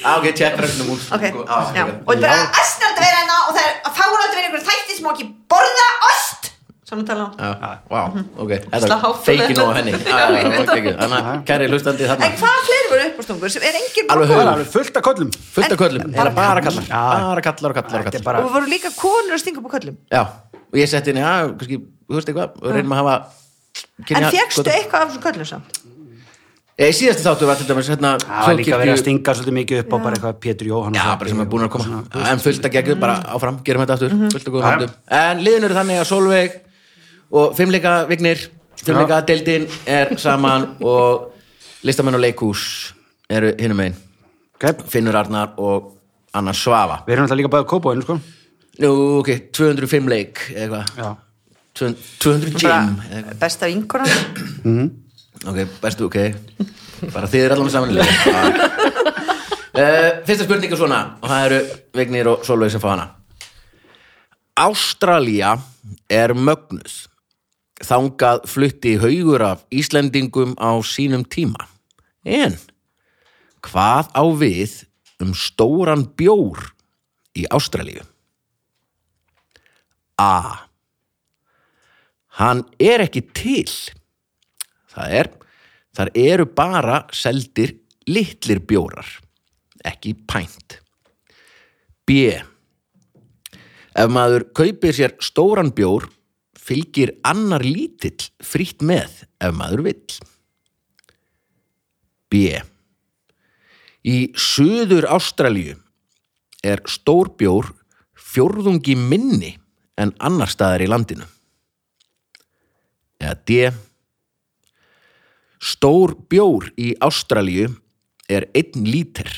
ah, ok, tjekk fransínu mús
Ok,
ah,
já, og bara asnald að vera hérna og það er fárald að vera einhver þætti sem má ekki borða ost Svona tala um. hann
Já, Ah, wow,
Mhm.
ok,
Slá
þetta
háfælega.
feikir nóg á henni Ah,
Já, ég veit það.
Þannig að kæri hlustandi
En
þarna
hvað fleiri voru uppástungur sem er engin
Alveg
Það er
höfum.
alveg fullt af köllum.
fullt af köllum, það er bara kallar
Já.
bara kallar og kallar og
Þetta er
kallar
bara,
Og við vorum líka konur að stinga upp á köllum
já, og ég setti henni, já, kannski, þú veist eitthvað og reynum að hafa
En fegstu eitthvað af þessum köllum samt?
Eða í síðasta þáttu var til dæmis hérna
Það var líka verið að
Þjóðkirkju-
stinga svolítið mikið upp á bara eitthvað Pétur Jóhann
Já, bara sem er búin að koma Já, En fullt að geggu, bara áfram, gerum þetta aftur Fullt að góða
mm. Mhm. Já.
höndum En liðin eru þannig að Solveig og fimmleika vignir Fimmleika deildin er saman og listamenn og leikús eru hinum einn
okay.
Finnur Arnar og Anna Svava
Við erum alltaf líka bæðið að kópa einu sko
Nú, ok, 205 leik eða eitthvað
Já.
200 200 gym eða eitthvað.
bara besta vinkona
Ok, bestu, ok Bara þið er allan saman í liði. uh, Fyrsta spurning er svona og það eru Vignir og Solveig sem fá hana Ástralía er mögnus þangað flutti haugur af Íslendingum á sínum tíma en hvað á við um stóran bjór í Ástralíu A Hann er ekki til Það er, þar eru bara seldir litlir bjórar, ekki pænt. B. Ef maður kaupir sér stóran bjór, fylgir annar lítill frýtt með ef maður vill. B. Í söður Ástralíu er stór bjór fjórðungi minni en annar staðar í landinu. Eða D. Stór bjór í Ástralíu er einn lítir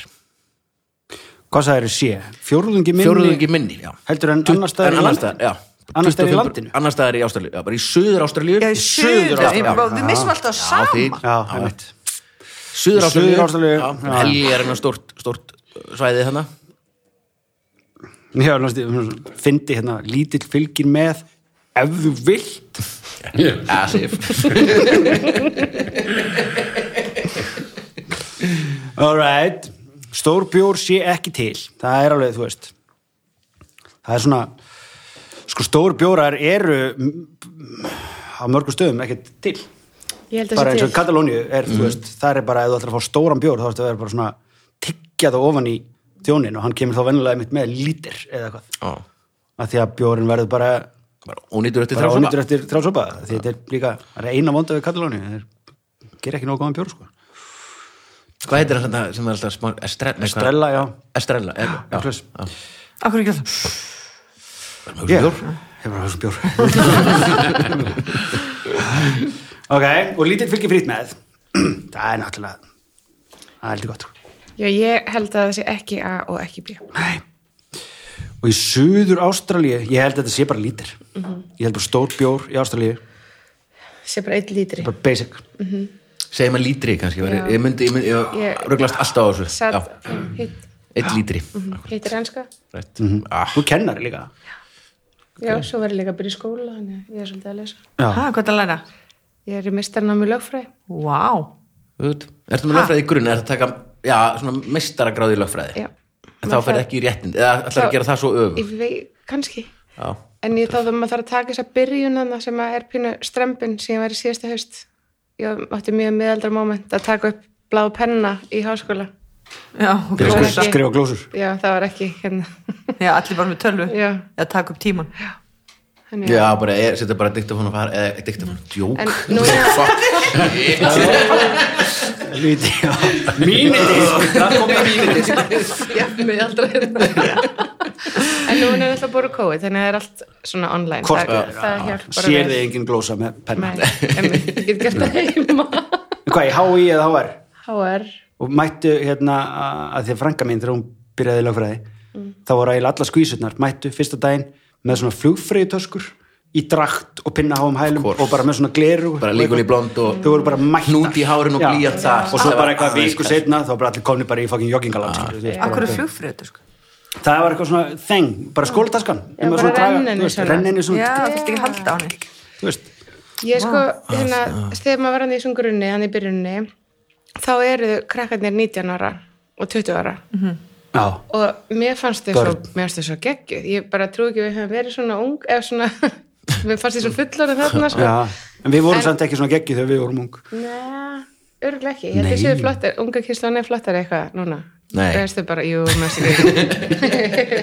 Hvað sagði þér sé? Fjórðungi minni
Fjóruðungi minni, já
Heldur en
Tu-
annars
en
staðar í
annars
landinu?
staðar, já.
Annars staðar í
25
landinu?
Annars staðar í Ástralíu, já, bara í söður Ástralíu
já, í suður,
Ástralíu, já.
þau missum alltaf
því-
sama
Já, einmitt
Suður Ástralíu,
Suður Ástralíu,
já,
já.
Helgi er hennar stórt, stórt uh, svæði þarna
Já, náttúrulega, svona, fyndi hérna lítill fylgir með ef þú vilt
Já, sif
All right. Stór bjór sé ekki til. Það er alveg, þú veist. Það er svona, sko stór bjórar eru mm, á mörgum stöðum ekkert til.
Ég held að
Bara eins og
það
í Katalóníu er, þú veist, það er bara, ef þú ætlar að fá stóran bjór, þá ætlar að vera bara svona tyggja það ofan í þjónin og hann kemur þá venjulega einmitt með lítir eða eitthvað.
Já,
Af því að bjórin verður bara,
bara ónýtur eftir
bara
þrjá
ónýtur eftir þrjásopa. Því þetta er líka, það er eina vonda við Katalóníu. Það er, gerir ekki nóg góðan bjór, sko.
Hvað heitir hann þarna sem er alltaf smá Estrella
Strella, já.
Estrella, er, já,
Já, já.
akkur ekki alltaf
já.
Ég hef bara þessum bjór Ok, og lítill fylgir frýtt með Það er náttúrulega Það er heldur gott sko.
Já, ég held að það sé ekki A og ekki B
Nei. Og í suður Ástralíu Ég held að þetta sé bara lítir Ég held bara stór bjór í Ástralíu
Sé bara einn lítri
Bara basic
Segjum að lítri kannski væri-
Já.
Ég myndi, ég myndi,
Ég-
ég rugglast alltaf á þessu
Satt,
Já,
hitt,
eitt lítri
hittir enska
Rætt Ah,
Þú kennar líka
Já, svo verður líka að byrja í skóla Þannig að ég er svolítið að lesa
ha, hvað það læra?
Ég er í mestarnámi lögfræði
Vá,
Völd. Ertu með lögfræði í grunn, er það taka já, svona meistaragráði í lögfræði
Já.
en þá fer ekki í réttin, eða ætlar að gera það svo öfum
Ég veit, kannski
Já,
En ég þáði að maður þarf að taka þess að byrjun hana sem að er pínu strempin sem ég var í síðasta haust. Ég átti mjög miðaldra moment að taka upp blá penna í háskóla.
já, ok.
Skrifa-
Skrifa skrifa glósur
Já, það var ekki hérna.
já allir bara með tölvu
Já.
að taka upp tíman
Þannig,
já bara er, setja bara diktafón og fara eða diktafón, djók
Mm. En nú er
Líti, já Míniti Það kom í míniti
ég miðaldra hérna. en nú er alltaf búin COVID, þannig að það er allt svona online.
Hvort-
það, það hjálpar
Sér hérna. þið engin glósa með penna
Nei, em, ég get gert það heima.
Hvað, í HÍ eða HR?
HR,
og mættu hérna að- að því að frænka mín þegar hún byrjaði í lögfræði
Mm.
þá voru eiginlega alla skvísurnar mættu fyrsta daginn með svona flugfreyjutöskur í drakt og pinna háum hælum
course.
og bara með svona gleru
bara líkun í blond og
þau voru bara mættar
Hnút í hárinu og
Já.
blýant þar.
og svo
Það
bara
var
eitthvað
aðeins
viku
kalt.
setna þá bara allir komni bara í fucking joggingaland skilur við.
akkur er flugfröðu sko.
það var eitthvað svona þeng, bara skólataskan
Já, bara renninu svona.
renninni
já,
svona
þurfti ekki að halda á henni
þú veist
Ég sko, hérna, þegar maður var hann í þessum grunni, hann í byrjunni, þá eru krakkarnir 19 ára og 20 ára
já
og mér fannst þau svo,
Börn.
mér fannst þau svo geggjuð. Ég bara trú ekki að við höfum verið svona ung, eða svona, mér fannst þau svo fullorðið þarna, sko.
Já, en við vorum
En-
samt ekki svona geggi þegar við vorum ung
Nei, örgulega ekki. Ég held
Nei.
að séu flottar, unga kynslan er flottar eitthvað núna.
Nei.
Veist þau bara, jú, mest ekki.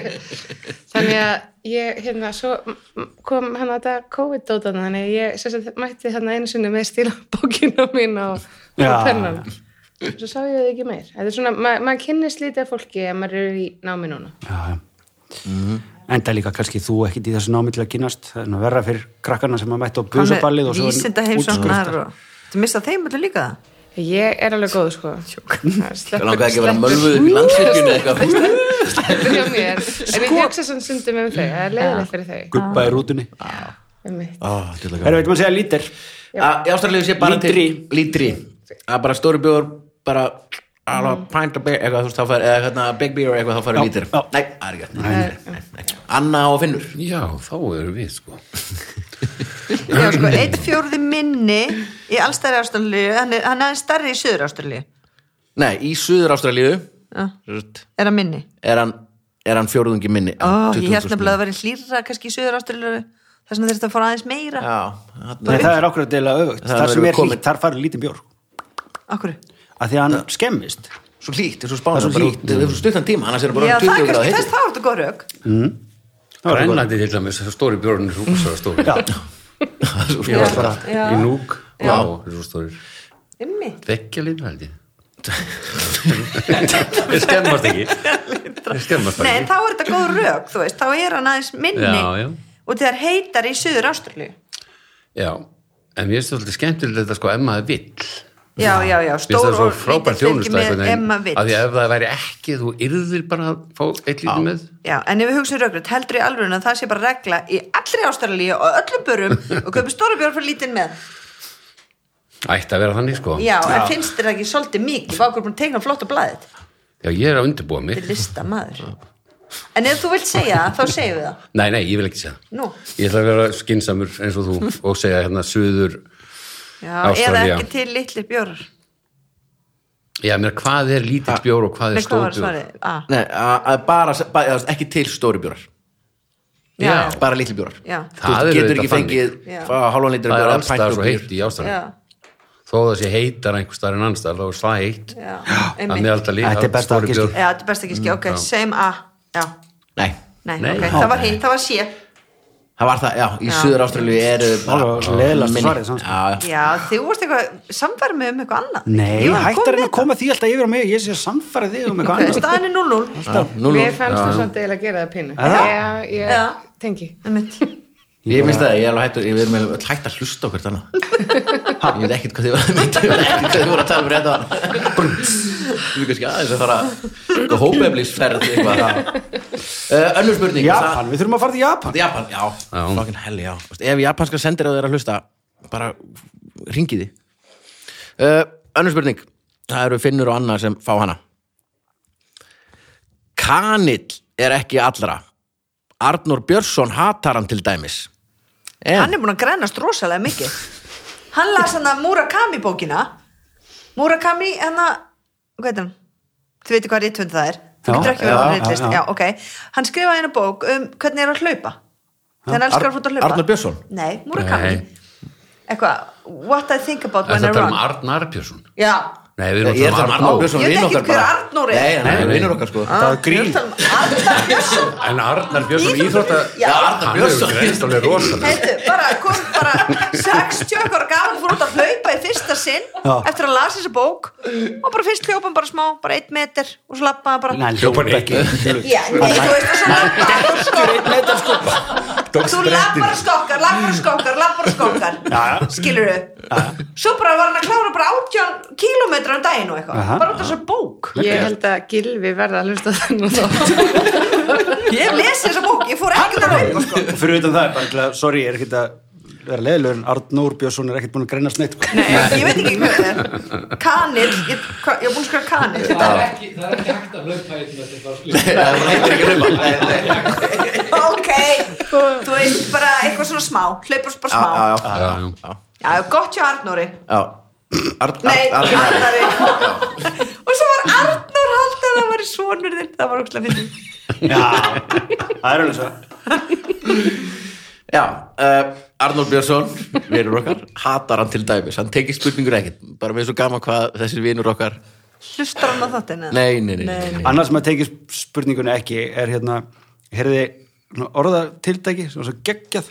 þannig að ég, hérna, svo m- kom hann að þetta COVID-dótan, þannig að ég sem sagt, mætti þarna einu sinni með stílabókina mín og, og
Já.
pennana. svo sá ég það ekki meir þetta er svona, ma maður kynnist lítið af fólki ef maður er í námi núna
já, já. Mhm. enda líka kannski þú ekkit í þessu námi til að kynast það er nú verra fyrir krakkarna sem að mættu á busaballið og svo
vísinda heimsóknar og þú mista þeim öllu líka það
ég er alveg góð sko
Ég
sleppur,
langaði ekki að vera mölvuð upp í landsvirkjunni Sko- eða eitthvað.
sleppur hjá mér en ég hugsa svona sundum um þau það er leiðilegt fyrir þau
guppa í rútunni
Einmitt.
Ó, djöfull er
erum
gaman.
við að segja lítir
Að- Í Ástralíu sé bara til
Lítri.
lítri að bara stóri bjóður bara alveg
Mm.
pint of beer eitthvað þú veist þá fær eða hérna big beer eitthvað þá fær lítir
já.
nei, það er ekki hægt. Nei, nei, nei, nei. Anna og Finnur
Já, þá erum við sko
já, sko, einn fjórði minni í allstæri ástæðanlíu hann er hann er starri í söður ástæðanlíu
nei, í suður Ástralíu er
er hann minni
hann er hann fjórðungi minni
Ó, ég held nefnilega að það væri hlýra kannski í söður ástæðanlíu þess vegna þurfti að fara aðeins meira
nefnilega
Nei, það er okkur að deila öfugt
Það
þar sem
verður
er
komin.
hlýtt, þar farið lítið bjór
okkur
að því að hann skemmist
svo hlýtt, eins og spána
Það er svo
bara-
hlýtt.
það er svo stuttan tíma annars er það bara
já, það er
20
kannski
gráða
þess
hitt
þá er þetta góð rauk
var það
Grænlandi til dæmis, stóri björn er rúksara stóri
Já.
Ég var bara í núk Já, þessu stóri
Einmitt.
Vekja litra held ég Þeir skemmast ekki Þeir skemmast
Nei, en
ekki
þá er þetta góð rauk, þú veist, þá er hann aðeins minni
Já, já.
og þegar heitar í söður ástæðanlíu
Já, en mér finnst það svolítið skemmtilegt þetta sko ef maður vill
já, já, já,
Mér finnst
stór
það svo
og lítill
frábær
fylgir
þjónusta
með
einhvern veginn,
Emma vill
af því að ef það væri ekki þú yrðir bara að fá eitt lítið með
Já, en ef við hugsaum rökrétt, heldur í alvörun að það sé bara regla í allri ástæðanlíu og öllum börum og köpum stóra björn fyrir lítinn með
ætti að vera þannig sko
Já, en finnst þér það ekki svolítið mikið Vá, okkur búin að tegna flott á blaðið
Já, ég er að undirbúa mig
Þetta er lista maður En ef þú vilt segja það, þá segjum við það
Nei, nei, ég vil ekki segja það.
Nú,
Ég ætla að vera skinsamur eins og þú og segja hérna suður
já, eða
Ástralía.
ekki til litlir bjórar
Já, mér hvað er lítill bjór og
Nei,
hvað er
hvað var
stór bjór
svarið? Ah,
Nei, að að bara, bara eða, ekki til stóri bjórar
já,
Já.
bara litli bjórar
já,
Það
þú
er
getur
auðvitað
ekki fengið
Já.
fá hálfan litra
Það er
bjór eða pint
alls staðar
of
svo
beer.
heitt í ástæðan
já,
Þó það sé heitar einhver staðar en annars staðar þá er það heitt
já,
Það
einmitt Já,
meðalda líka
Þetta er besta
stóri
gistu.
bjór
þetta er best ekki skilja, ok, same A Já,
nei,
nei,
Nei.
ok, það var hitt, það var sé
það var það, já, í
Já.
suður ástralju eru bara-
var leiðilegasta
minni.
svarið, samt.
Já, já.
Já, þú varst eitthvað samfæri með um eitthvað annað
Nei,
Jú, hann kom
hættar en
með
að koma því alltaf yfir á mig ég sé að samfæra þig um
Ok,
eitthvað annað
staðan er 0-0
Já, nú, nú.
mér fannst það samt eiginlega að gera það pínu
Já.
já, ég
Já.
tengi
Einmitt.
Ég minnst það, ég er alveg hættur, ég verður með öll hægt að hlusta okkur þannig. Ég veit ekkert hvað þið var að mynda, ég veit ekkert hvað þið voru að tala um rétt á hann. Brr. Þú veit kannski aðeins að fara eitthvað hópeflisferð eitthvað. Uh, önnur spurning.
Japan, við þurfum að fara til Japan
Það, Japan, já.
Já.
Fucking hell, já. Þú veist, Ef japanska sendir að þeir að hlusta, bara ringið þið. Uh, önnur spurning. Það eru Finnur og Anna sem fá hana. Kanill er ekki allra. Arnór Björnsson hatar hann til dæmis. En,
Hann er búin að grænast rosalega mikið Hann las hann að Murakami bókina Murakami hann að hvað heitir hann? Þið veitir hvað rítund það er Þú
Já,
getur ekki
já,
verið að
já,
rítlist
já.
Já, ok Hann skrifaði hérna bók um hvernig er að hlaupa Þannig hann elskar
Ar-
að fóta að hlaupa
Arnar Björnsson?
Nei, Murakami
Nei.
Eitthvað What I think about
Það
when
er
I
það um
run
Arn Arnbjörnsson
Já
Nei, við
Ég er það
erum að
um Arnór Björnsson, vinn
Ég veit
tala um Arn
ekki
okkar
hver
bara.
Arnór er.
Nei, hann
Nei,
er
nei.
vinnur okkar sko
Ah,
Það var grín.
ég er að tala um Arnar Björnsson
En Arnar Björnsson í Íþrótta
Íþrótta- Já.
Arnar
Hann hefur
Björnsson.
greinst alveg rosalega
Heitu, bara, kom bara 60 ára gaman fór út að hlaupa í fyrsta sinn
Já.
eftir að lasa þessa bók og bara fyrst hljópa hann bara smá, bara eitt meter og svo lappa hann bara
Nei,
Hljópan ekki.
Já, nei, þú veist og svo lappa
Tók
Þú
sprettið.
lappar og skokkar, lappar og skokkar, lappar og skokkar
já.
Skilur þau? Svo bara var hann að klára bara 18 kílómetra um daginn og eitthvað
Aha.
Bara út af þessar bók
ég held að Gilvi verða að hlusta þennan þátt.
Ég lesi þessa bók, ég fór ekkert að hlaupa sko
Og fyrir utan það er bara, ætla- sorry, ég er ekkert að vera leiðilegur en Arnór Björnsson er ekkert búin að sko. greina snett
Nei, ég veit ekki hvað það er Kanil, ég, hva, ég er búin að skrifa kanil
Það er ekki það er ekki hægt að hlaupa eitt með þetta
Nei,
skilja.
hann heitir ekki Ruma Nei, nei.
ok, þú veist bara eitthvað svona smá, hlaupur bara smá
Já,
já,
já,
Já, já.
gott hjá Arnóri
já. Arn-
nei,
Arn- Arnar.
Arnóri og svo var Arnór haldið að það var í sonur þinn, það var ókslega fyrir
Já, það er alveg svo
Já, uh, Arnór Björnsson vinur okkar, hatar hann til dæmis hann tekið spurningur ekkert, bara með svo gaman hvað þessir vinur okkar
hlustar hann á þáttinn eða?
Nei, nei, nei, nei, nei.
Annars sem að tekið spurningunni ekki er hérna, heyrði orðatiltæki sem var svo geggjað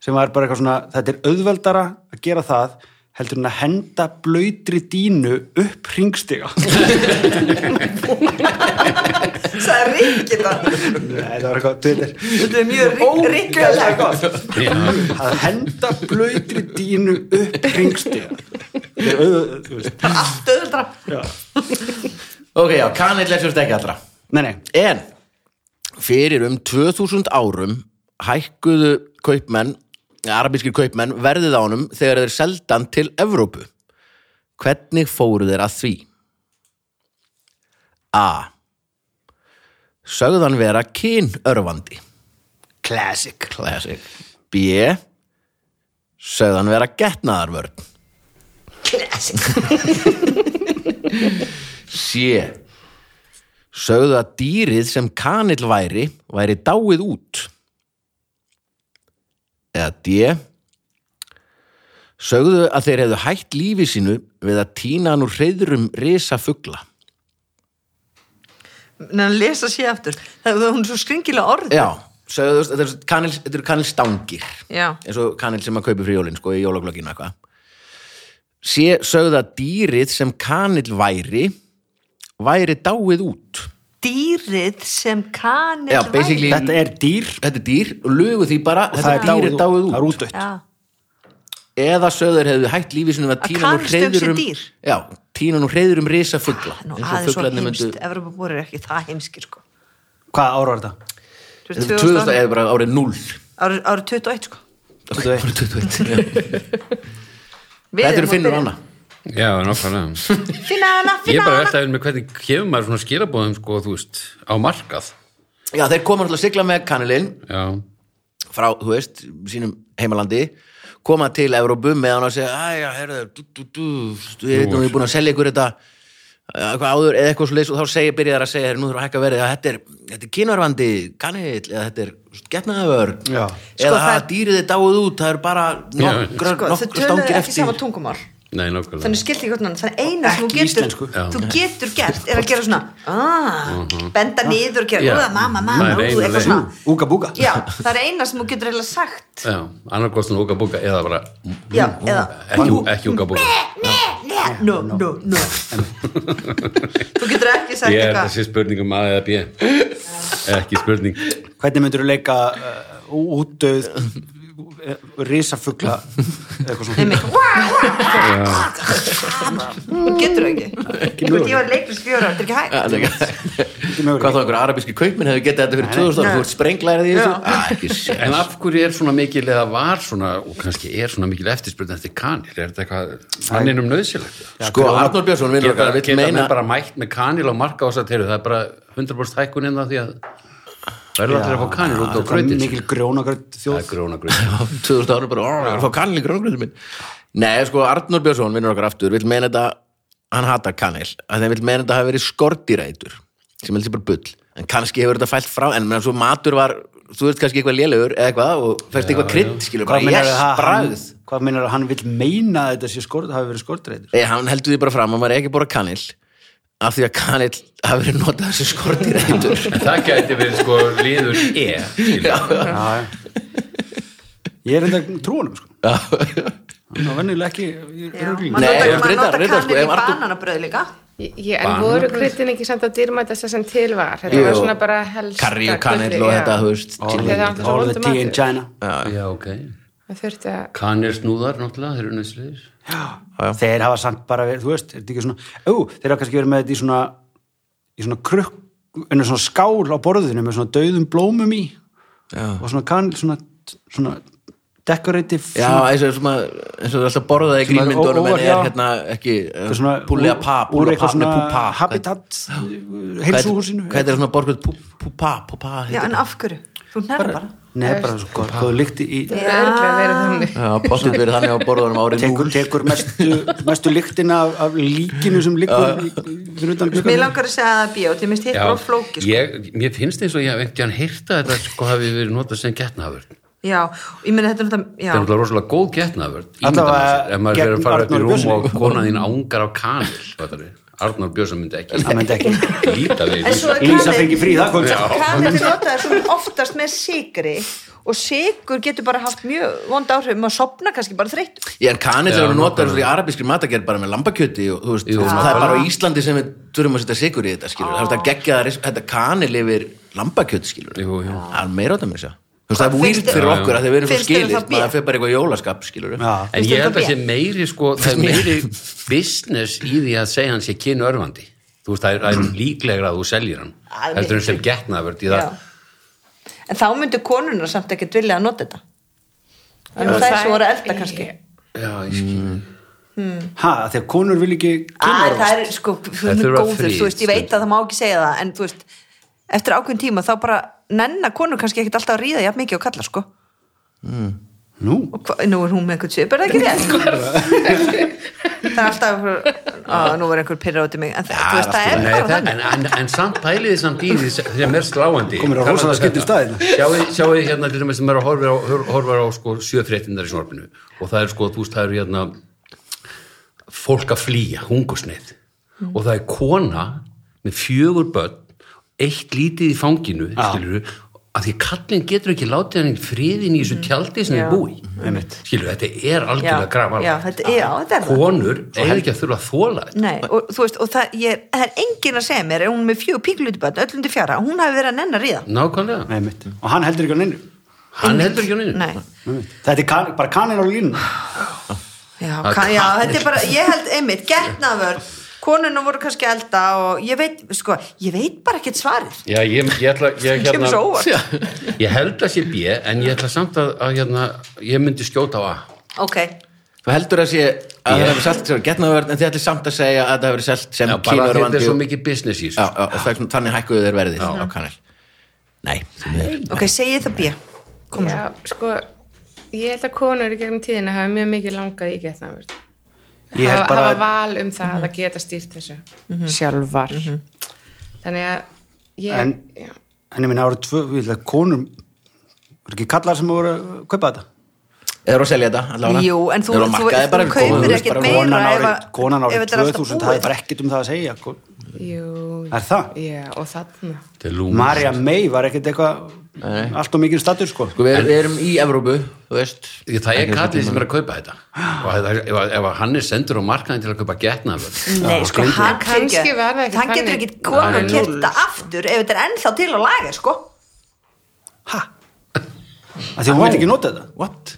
sem var bara eitthvað svona, þetta er auðveldara að gera það heldur en að henda blöytri dínu upp hringstiga Nei,
það er ríkir það
það var eitthvað Twitter
þetta er mjög ríkir
að henda blöytri dínu upp hringstiga Þetta er auðvitað, þú veist.
allt öðuldra
ok, já, kanil er fyrst ekki allra
Nei, nei,
en fyrir um 2000 árum hækkuðu kaupmenn arabískir kaupmenn verðið ánum þegar þeir seldan til Evrópu hvernig fóru þeir að því? A sögðan vera kynörfandi
classic
Classic. B sögðan vera getnaðarvörn C sögðu að dýrið sem kanill væri væri dáið út eða D sögðu að þeir hefðu hætt lífi sínu við að týna hann úr hreyðrum risafugla
en að lesa sér aftur það er hún er svo skringilega orð
já, sögðu, þetta eru kanill, þetta eru kanillstangir
já,
eins og kanil sem að kaupi frí jólinn sko í jólaglögginu eitthvað sé sögðu að dýrið sem kanil væri væri dáið út
dýrið sem kanil
já, basically,
Þetta er dýr
þetta er dýr og lugu því bara,
og
þetta
það er
dýr er dáið út
Það er útdött
já,
eða sögður hefðu hætt lífið sinum að
Að
tína nú
kanilstöng sé
reyðurum
dýr? Ah,
já, tína nú reyðurum risa fugla
nú
eins og
aðeins svo
fuglarnir
heimst
myndu
myndu... Evropa búið er ekki það heimskir sko
Hvað ára var þetta?
Þú veist,
2000
2000
eða bara árið 0
árið árið 21 sko
árið 21 já.
Við
þetta eru
erum að
finnur
byrja.
hana
Já, nákvæmlega
finna hana,
Ég
finna
er bara
hana
veltaðið með hvernig kemur maður svona skilabóðum sko, þú veist, á markað
já, þeir koma alltaf að sigla með kanilinn
Já,
frá, þú veist, sínum heimalandi koma til Evrópu með hann að segja aðja, herðu, dú, dú, dú, dú ég veit nú, ég er búin að selja ykkur þetta eh, eitthvað áður eða eitthvað svo leys og þá segja, byrjaðar að segja, herru, nú þurfum að hækka verið að þetta er, þetta er kynarvandi, kanill eða þetta er getnaðavörn
Já.
eða
Sko,
það
það-
dýrið er dáið út, það eru bara nokkra,
sko, þau
nokkra
töluðu
stangir
ekki
eftir
sama tungumál
nei, nákvæmlega
þannig skilti ekki hvernig þannig eina sem þú
íslensku.
getur,
Já.
þú getur gert er að gera svona ah, benda niður og gera,
Já.
yeah. mamma, mamma,
Það
ú,
er eina
eitthvað
leið.
svona
Úga búga
já, það er eina sem þú getur eiginlega sagt
Já, annarkoð svona úka búka eða bara
já, eða
ekki, ekki úka búka
ne, no, no, no þú getur ekki sagt
Ég er
eitthvað
þessi spurning um A eða B Ekki spurning
Hvernig myndur þú leika uh, útdöð risafugla eitthvað svona
Einmitt. þú getur það ekki Þú veist, ég var leiklist fjóra, þetta er ekki hægt
eftir Já,
Ekki
það- hvað
möguleik.
þá einhver arabíski kaupminn hefur getað þetta fyrir 2000 ára, þú ert sprenglærið í þessu Ah, ekki séð.
En af hverju er svona mikil eða var svona og kannski er svona mikil eftirspurning eftir kanil er þetta eitthvað, hann er um nöðsilegt
sko, Arnór Björnsson vinnur
Geta,
okkar vill
geta
meina-
menn bara mætt með kanil á marka og satt, heyrðu, það er bara 100% hækkun innan því að verður allir að fá kanil út á
Þetta er
gröndin
Mikil grjónagrönd
Það
þjóð
er gróna gröndin
2000 ára bara, "Ó, ég er að fá kanil í gróngröðum minn Nei, sko, Arnur Björnsson vinnur okkar aftur, vill meina þetta hann hatar kanil, að þeim vill meina þetta hafi verið skordýrætur, sem heldur sér bara bull en kannski hefur þetta fælt frá, en menn svo matur var, þú veist kannski eitthvað lélegur eða eitthvað, og fæst eitthvað krydd, skilur bara, yes,
hann,
bragð
hvað meinar að hann vil meina að þetta sé skort, hafi verið skortreitur
Nei, hann heldur því bara fram að maður er ekki bara kanil af því að kanil hafi verið notað þessi skordýrætur
En það gæti verið sko liður E skilur.
ég er enda trúanum sko. hann var vennilega ekki ég er
Já. Maður
örugglega-
Nei,
notar-
ég-
maður
reyndar-
notar
reyndar, sko,
kanil í
ef Artur-
bananabröð líka
Ég, en voru kryddin ekki samt að dýrmætasta sem til var þetta
Jú.
var svona bara helst
karri og kanil og þetta, þú veist
Þegar það var svo
all the
vondur
tea in
matur.
China
Já, ok
það þurfti að
Kanir snúðar náttúrulega, þeir eru nöðslegir
þeir hafa samt bara verið, þú veist, er þetta ekki svona ó, þeir hafa kannski verið með þetta í svona í svona krukk, ennur svona skál á borðinu með svona dauðum blómum í já. og svona kann, svona svona decorative
Já,
svona,
eins og, svona, eins og það er alltaf borðað í
Svona
grínmyndunum
ó- ó-
en er
já.
hérna ekki
þetta er svona
púlega
úr-
pá,
úr
púlega pá,
eitthvað
með
svona
púpa
habitat heilsuhúsinu
Hvað er það svona borðað púpa, púpa
já, en af hverju, þú nærð bara
Nei, bara svo góð, góð líkt í
það er örglega verið þannig
Já, bóttum verið þannig á borðunum árið
tekur,
núl
tekur mestu, mestu líktina af, af líkinu sem líkur í- í- fyrir utan
Mér
gluggann.
langar að segja það að bíó, því minnst hitt bara flóki sko.
ég, Mér finnst eins og ég hef einhvern heyrta þetta sko hafi verið notað sem getnaðavörn Það
Já, og ég meina þetta er náttúrulega
er
já.
náttúrulega rosalega góð getnaðavörn
Alla
Ímynda maður
vega
sér, ef maður
gegn
verið að fara upp í
Arnóri
rúm
Björnssyni.
og kona þín ángar á kanil fattarðu. Arnar Björnsson myndi ekki
Hann myndi ekki.
líta við
En svo er
Lísa.
Lísa
kalið-
fengi frí það kvöld, sko.
Kalið er notað svona oftast með sigri og sigur getur bara haft mjög vond áhrif maður sopna kannski bara þreytt
Ég en kanil
Já,
er notar
nákvæmlega.
í arabískri matagerð bara með lambakjöti og þú veist, það er
nákvæmlega.
bara á Íslandi sem við þurfum að setja sigur í þetta
Ah.
skilur. Það er geggja að ris- þetta kanil yfir lambakjöti skilur.
Jú, jú.
Það er meira á þetta með þess að. Þú veist, það er
Finnst
výrt fyrir
þér-
okkur að þeir verið svo
Finnst þér
skilir,
það
maður
bé?
fyrir bara eitthvað jólaskap skilur.
Já.
En
Finnst
ég
þér
held
þetta
að sé meiri sko, það er meiri business í því að segja hann sé kynu örfandi. Þú veist, það er, það er líklegra að þú seljir hann.
Að
Heldur
miklu.
en sem getnaverð í
Já.
það.
en þá myndu konuna samt ekkert vilja að nota þetta en það er svo voru að elda kannski
Já, ég skil.
Ha, af því að konur vil ekki
Æ,
kynna
það er sko, hún er
þurfa
góður,
frí,
þú veist, ég veit
stundum.
að það má ekki segja það en þú veist, eftir ákveðin tíma þá bara nennar konur kannski ekkert alltaf að ríða jafn mikið og kalla sko og
Nú,
hva, nú er hún með einhvern svip, er það ekki rétt sko það er alltaf að nú var einhver pyrra út í mig en það, þú veist, það er
Nei,
bara
það,
þannig
en, en, en samt pæliði samt í því sem er sláandi um
Komir á rosalega skrýtna staði.
sjáu, sjáu hérna til dæmis sem er að horfa á, hor- horfa á sko, sjöfréttindar í snorfinu og það er sko, þú veist, það er hérna fólk að flýja, hungusneið og það er kona með fjögur börn eitt lítið í fanginu
Já.
skilur að því kallin getur ekki látið hann í friðin í þessu tjaldi sem
Mm. Já.
Mm,
þið búi skilur, þetta er algjörlega grafa
já, þetta, já, þetta er það
konur eiga ekki að þurfa að þóla þetta
Nei, og þú veist, og það, ég, það er enginn að segja mér, ef hún er með fjögur píkulutubönd, öllum til fjara, hún hafi verið að nennar í það.
nákvæmlega
einmitt. Og hann heldur ekki á neinu.
Hann heldur ekki á neinu.
Nei.
Einmitt. Þetta er kan, bara kanil á línu.
Já,
Það
kann, já,
kann-
þetta er bara, ég held einmitt, getnaður, konunum voru kannski að elda og ég veit, sko, ég veit bara ekkert svarið.
Já, ég, ég ætla, ég,
Kemur
hérna,
svo óvart.
ég held að sé B, en ég ætla samt að, að hérna, ég myndi skjóta á A.
Ok,
Þú heldur að sé að
Ég-
það hefur selt sem getnaverð, en þið ætlir samt að segja að það hefur selt sem
Já, bara að þetta
kínurvandi
er svo
og-
mikið business í
Já,
þessu.
já, og þess- þannig hækkuðu þeir verðið á kanil. Nei, því miður.
ok, segi það bíja. Koma svo.
Já, sko, ég held að konur í gegnum tíðina hafa mjög mikið langað í getnaverð.
Ég held
Hafa,
bara- Mhm.
hafa val um það að geta stýrt þessu sjálfar. Þannig að ég...
En,
já.
en ég minna, það voru tvö, við ætla, konur, voru ekki kallar sem voru að kaupa þetta?
Eða að selja þetta allavega?
Jú, en þú-
Eru á
þú-
markaði
þú
bara, við
kaupir
komum, þú veist,
ekkert
bara-
meira.
Konan
ef
árið,
að-
konan
ef
árið
þetta er alltaf
2000,
búið.
það er bara ekkert um það að segja. Kon-
Jú,
Er það?
já, og þarna
Þetta er lúm.
Marja May var ekkert eitthvað allt og mikið statur, sko.
Sko, við, við erum í Evrópu, þú veist
Ég- Það er
Ekki
kallið sem er að kaupa þetta. Og ef, ef, ef hann er sendur á markaðin til að kaupa getnaföld.
Nei, sko, hann,
Kannski
fyrirgefðu,
var það ekki
hann getur
þannig.
ekki komin
Nei.
að kipta aftur ef þetta er ennþá til að laga, sko.
Hæ? Því hún veit ekki nota þetta.
What?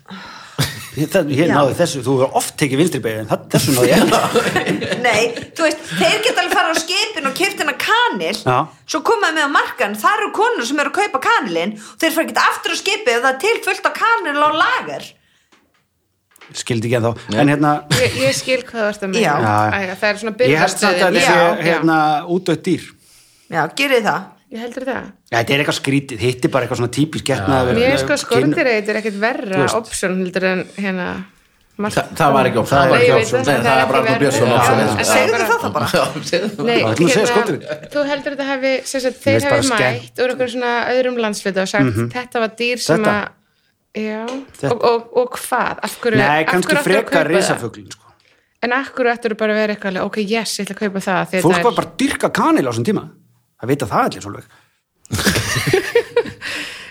Ég, það, ég
Já.
náði þessu, þú hefur oft tekið vinstri beigja, en það- þessu náði ég.
Nei, þú veist, þeir geta alveg fara á skipin og kipta hennar kanil,
Já.
svo komaði með á markan, það eru konur sem eru að kaupa kanilinn og þeir fara ekki aftur á skipið ef það er til fullt af kanil á lagar.
Skildi ekki en þá. En hérna,
ég, ég skil hvað þú ert að
Já.
meina Æ, það er svona
ég held samt að
byrðarstöðin
þetta
já,
sé hérna, útdött dýr.
Já, gerið það.
já. ég heldur það
Ja, þetta er eitthvað skrítið, hitti bara eitthvað svona típisk getnaður.
mér er sko skortireit er ekkert
Þú
verra
veist.
option heldur en hérna mark-
Þa, það var ekki option
Það var
Nei,
ekki
ég veit
option.
það,
Nei, það er bara Arnór
ekki
Björnsson
verra.
option,
Já,
sko.
en
Segðu
bara-
það þá bara.
Já, segðu það.
Nei,
Það var ekki að segja
hérna,
skortireit.
þú heldur þetta hafi sem sagt,
Mér
þeir
finnst
hafi
bara skemmt. Mhm.
mætt úr einhverjum svona öðrum landsluta og sagt þetta var dýr sem
Þetta?
að já,
Þetta.
og, og, og hvað af hverju,
Nei,
af
kannski
hverju áttu að
frekar
kaupa það?
risafuglin, sko.
en af hverju ættur bara að vera eitthvað alveg, ok, yes, ég ætla að kaupa það því að
Fólk
þetta
var
er-
bara að dyrka kanil á þessum tíma. Það vita það allir svolítið.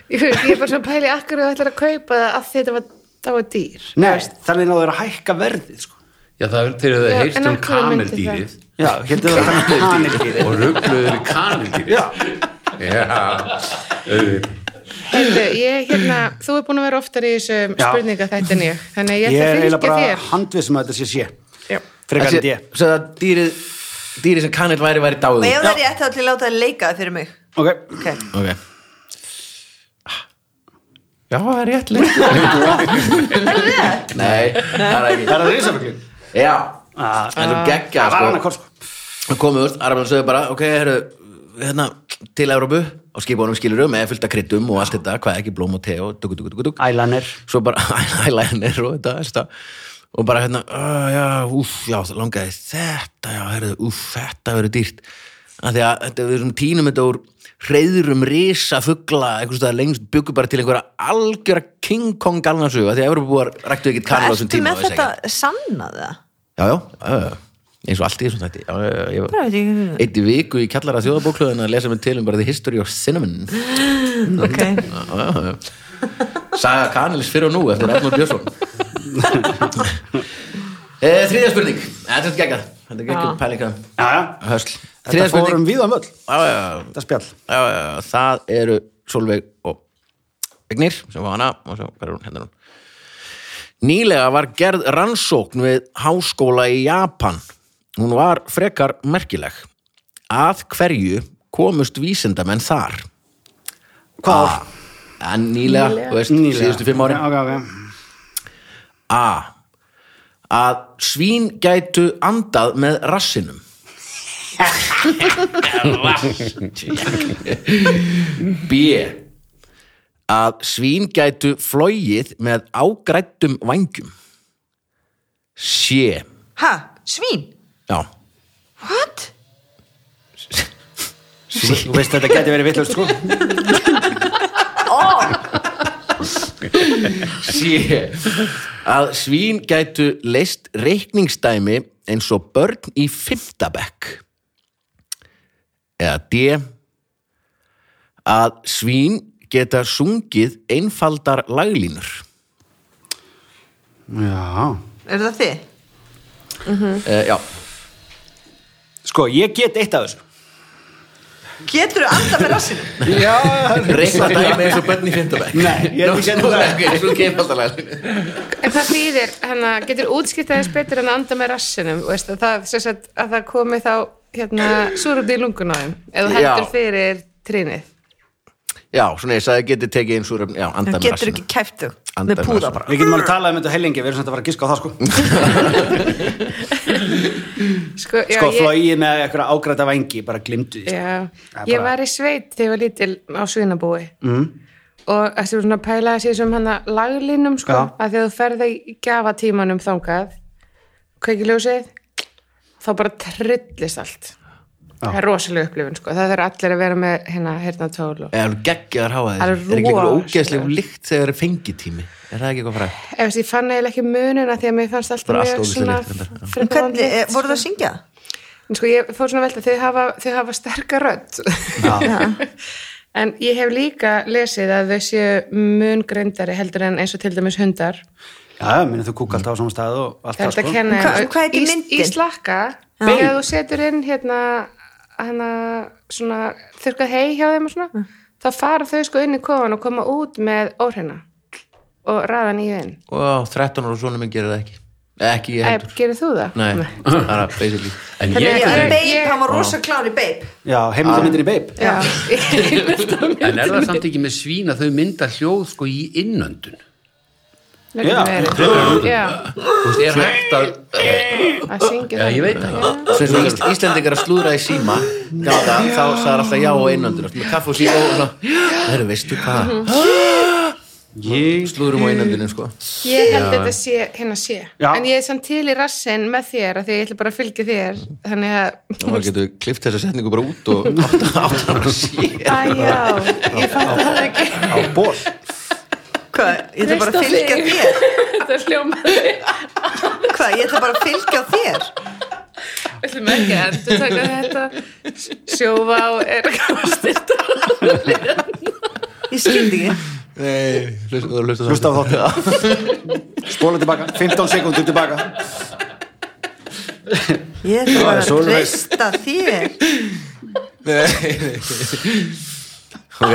Ég veit, ég er bara svona að pæli akkur þú ætlar að kaupa það af því þetta var, það var dýr
Nei, þannig náður að hækka verðið, sko.
Já, það er þegar
Já,
það
en
heyrst um
af hverju myndi
kameldýrið
Já, hérna það að hækka kanil dýrið.
og ruggluður í kameldýrið.
Já.
Já, auðvitað.
Heyrðu, ég, hérna, þú er búin að vera oftar í þessum
Já.
spurninga þetta en ég þannig að ég
Ég
ætla
er
að
eiginlega
fylgja
bara
þér
handvið sem að þetta sé sé.
Já.
Frekar en ég.
Svo að dýrið dýrið sem kanil væri væri dáðu
Og ef það er ég ætti allir láta það leika það fyrir mig.
Ok,
Ok.
Ok Já, það er rétt lengt Nei, það er ekki
það er það risafuglin.
Já,
Ah.
það er svo geggja
Það var annað hvort, sko.
Það komið úr, Arabann sögðu bara, ok, herru, hérna, til Európu á skipunum skilurum með fullt af kryddum og allt þetta, hvað ekki, blóm og te og dugg, dugg, dugg, dugg.
Ælanir.
Svo bara, eyeliner og þetta, þetta, og bara hérna, "Ah, já, úf, já, það langaði þetta, já, herru, úf, þetta verður dýrt. Af því að þetta við erum tínum þetta úr hreyðurum risa fugla, einhvers staðar lengst byggu bara til einhverja algjöra King Kong galnarsögu, af því að Európu búar ræktu ekkit
Hvað
kanal á þessum
ertu
tíma.
með
vissi
þetta
ekkert.
sannað það?
Já, já, já, já. eins og allt í þessum þætti Já, já, já, ég var
Bara veit ég-
eitt í viku í kjallara þjóðabóklöðin að lesa mér til um bara the history of cinnamon
ok
Já, já, já. Saga Kanelis fyrir og nú eftir Arnur Björnsson Eh, Þriðja spurning Þetta er geggjað Þetta er geggjað pælinga
Já, já.
Hösl Þriðja
Þetta um- fórum
spurning
við á möll,
Já, já, já,
þetta spjall.
já, já, Það eru Solveig og Egnir sem var hana og svo hver er hún hendur hún Nýlega var gerð rannsókn við háskóla í Japan. Hún var frekar merkileg. Að hverju komust vísindamenn þar? Ah,
Hvað ár?
En nýlega, nýlega. Veist,
Nýlega.
síðustu fimm árin.
Ok, ok.
A. Að svín gætu andað með rassinum. B. Að svín gætu flóið með ágrættum vangjum. C.
Hæ, svín?
Já.
What?
Þú þú veist þetta geti verið vittlust, sko.
C. Að svín gætu leist reikningsdæmi eins og börn í fymtabekk. Eða D. Að svín geta sungið einfaldar laglínur.
Já.
Er það þið?
Uh, já.
Sko, ég get eitt af þessu.
Getur þú andað með rassinu?
Já.
Reikningsdæmi eins og börn í fymtabekk.
Nei, ég er
Nú,
ekki gæti
nú,
það.
ok, Sungið einfaldar laglínur.
En það þýðir, hérna, getur útskýrt aðeins betur en að anda með rassinum, veist, að það, sem sagt, að það komi þá, hérna, súröfni í lungun á þeim, ef þú heldur
Já.
fyrir trínið.
Já, svona ég sagði getið tekið eins og já, andað með
Getur
rassinum.
ekki kæft þú?
Andað
Með
með
púða
rassinum.
bara.
Við getum alveg talað um þetta heilingi, við erum samt að fara að giska á það, sko.
Sko, já,
Sko,
ég-
flóið með eitthvað ágræta vengi, bara glimtu því. sko.
Já,
Það er
ég
bara-
var í sveit þegar ég var lítil á svínabúi mm. og þessi var svona að pæla þessi sem hana laglínum sko,
Já.
að þegar þú ferði í gafatímanum þangað kveikiljósið þá bara trillist allt það er rosalega upplifun sko, það þarf allir að vera með hérna hirnatól og
Eða geggjaðar háa
Það
þér.
er
Er ekki eitthvað
rosalega.
ógeðslega líkt þegar er fengitími? Er það ekki eitthvað frægt?
ef þessi ég fann eiginlega ekki mununa því að mér fannst alltaf
Bara allt
mjög
ógeðslega
svona
líkt, reyndar, já.
frekar
Hvernig, eh,
vandlegt,
voru það
sko.
að syngja?
En sko ég fór svona að velta, þau hafa, þau hafa sterka rödd. en ég hef líka lesið að þau séu mun greindari heldur en eins og til dæmis hundar.
Já, minna þú kúk alltaf á sama stað og allt
Það
það,
er þetta að
sko.
kenna.
Hva- hvað heitir myndin?
Í, í slakka, þegar þú setur inn hérna, hana, svona, þurrkað hei hjá þeim og svona, þá fara þau sko inn í kofan og koma út með óhreina og ræða nýju inn.
og 13 ára og svona minn gerir það ekki ekki ég
Æ,
heldur
gerir þú það?
Nei, það er að basically
En
Þannig
ég,
að-
En
Ég-
Babe,
ég-
hann var rosa klári Babe.
Já, heimildamindir í beip.
Já.
en er það samt ekki með svín að þau mynda hljóð sko í innöndun?
Já.
Já. Já.
Þú veist, er hægt að,
Að syngja
já, ég veit
það.
það.
Svo eins og Ís- Íslendingar að slúðra í síma gáta, þá sagðar alltaf já og einöndur með kaff og síma og svona Þeir veistu hvað,
Ég...
slúðrum á einöndunum sko
Ég held þetta sé, hérna sé
Já.
En ég er samt til í rassin með þér af Því að ég ætla bara að fylgja þér Þannig að,
og maður getur klift þessa setningu bara út og átta átta ára síðan
æjá Ég fatt það ekki
Á ból.
Hvað, ég ætla bara að fylgja þér.
Þetta hljómaði
Hvað, ég ætla bara að fylgja þér.
Við ætlum ekki að endurtaka þetta Sjófa og er styrta
Ég skildi ekki.
Nei, hlusta, hlusta,
Hlusta á þáttu. Spóla tilbaka, 15 sekundur tilbaka.
Ég ætla bara að
Sólveig.
treysta þér.
Ok,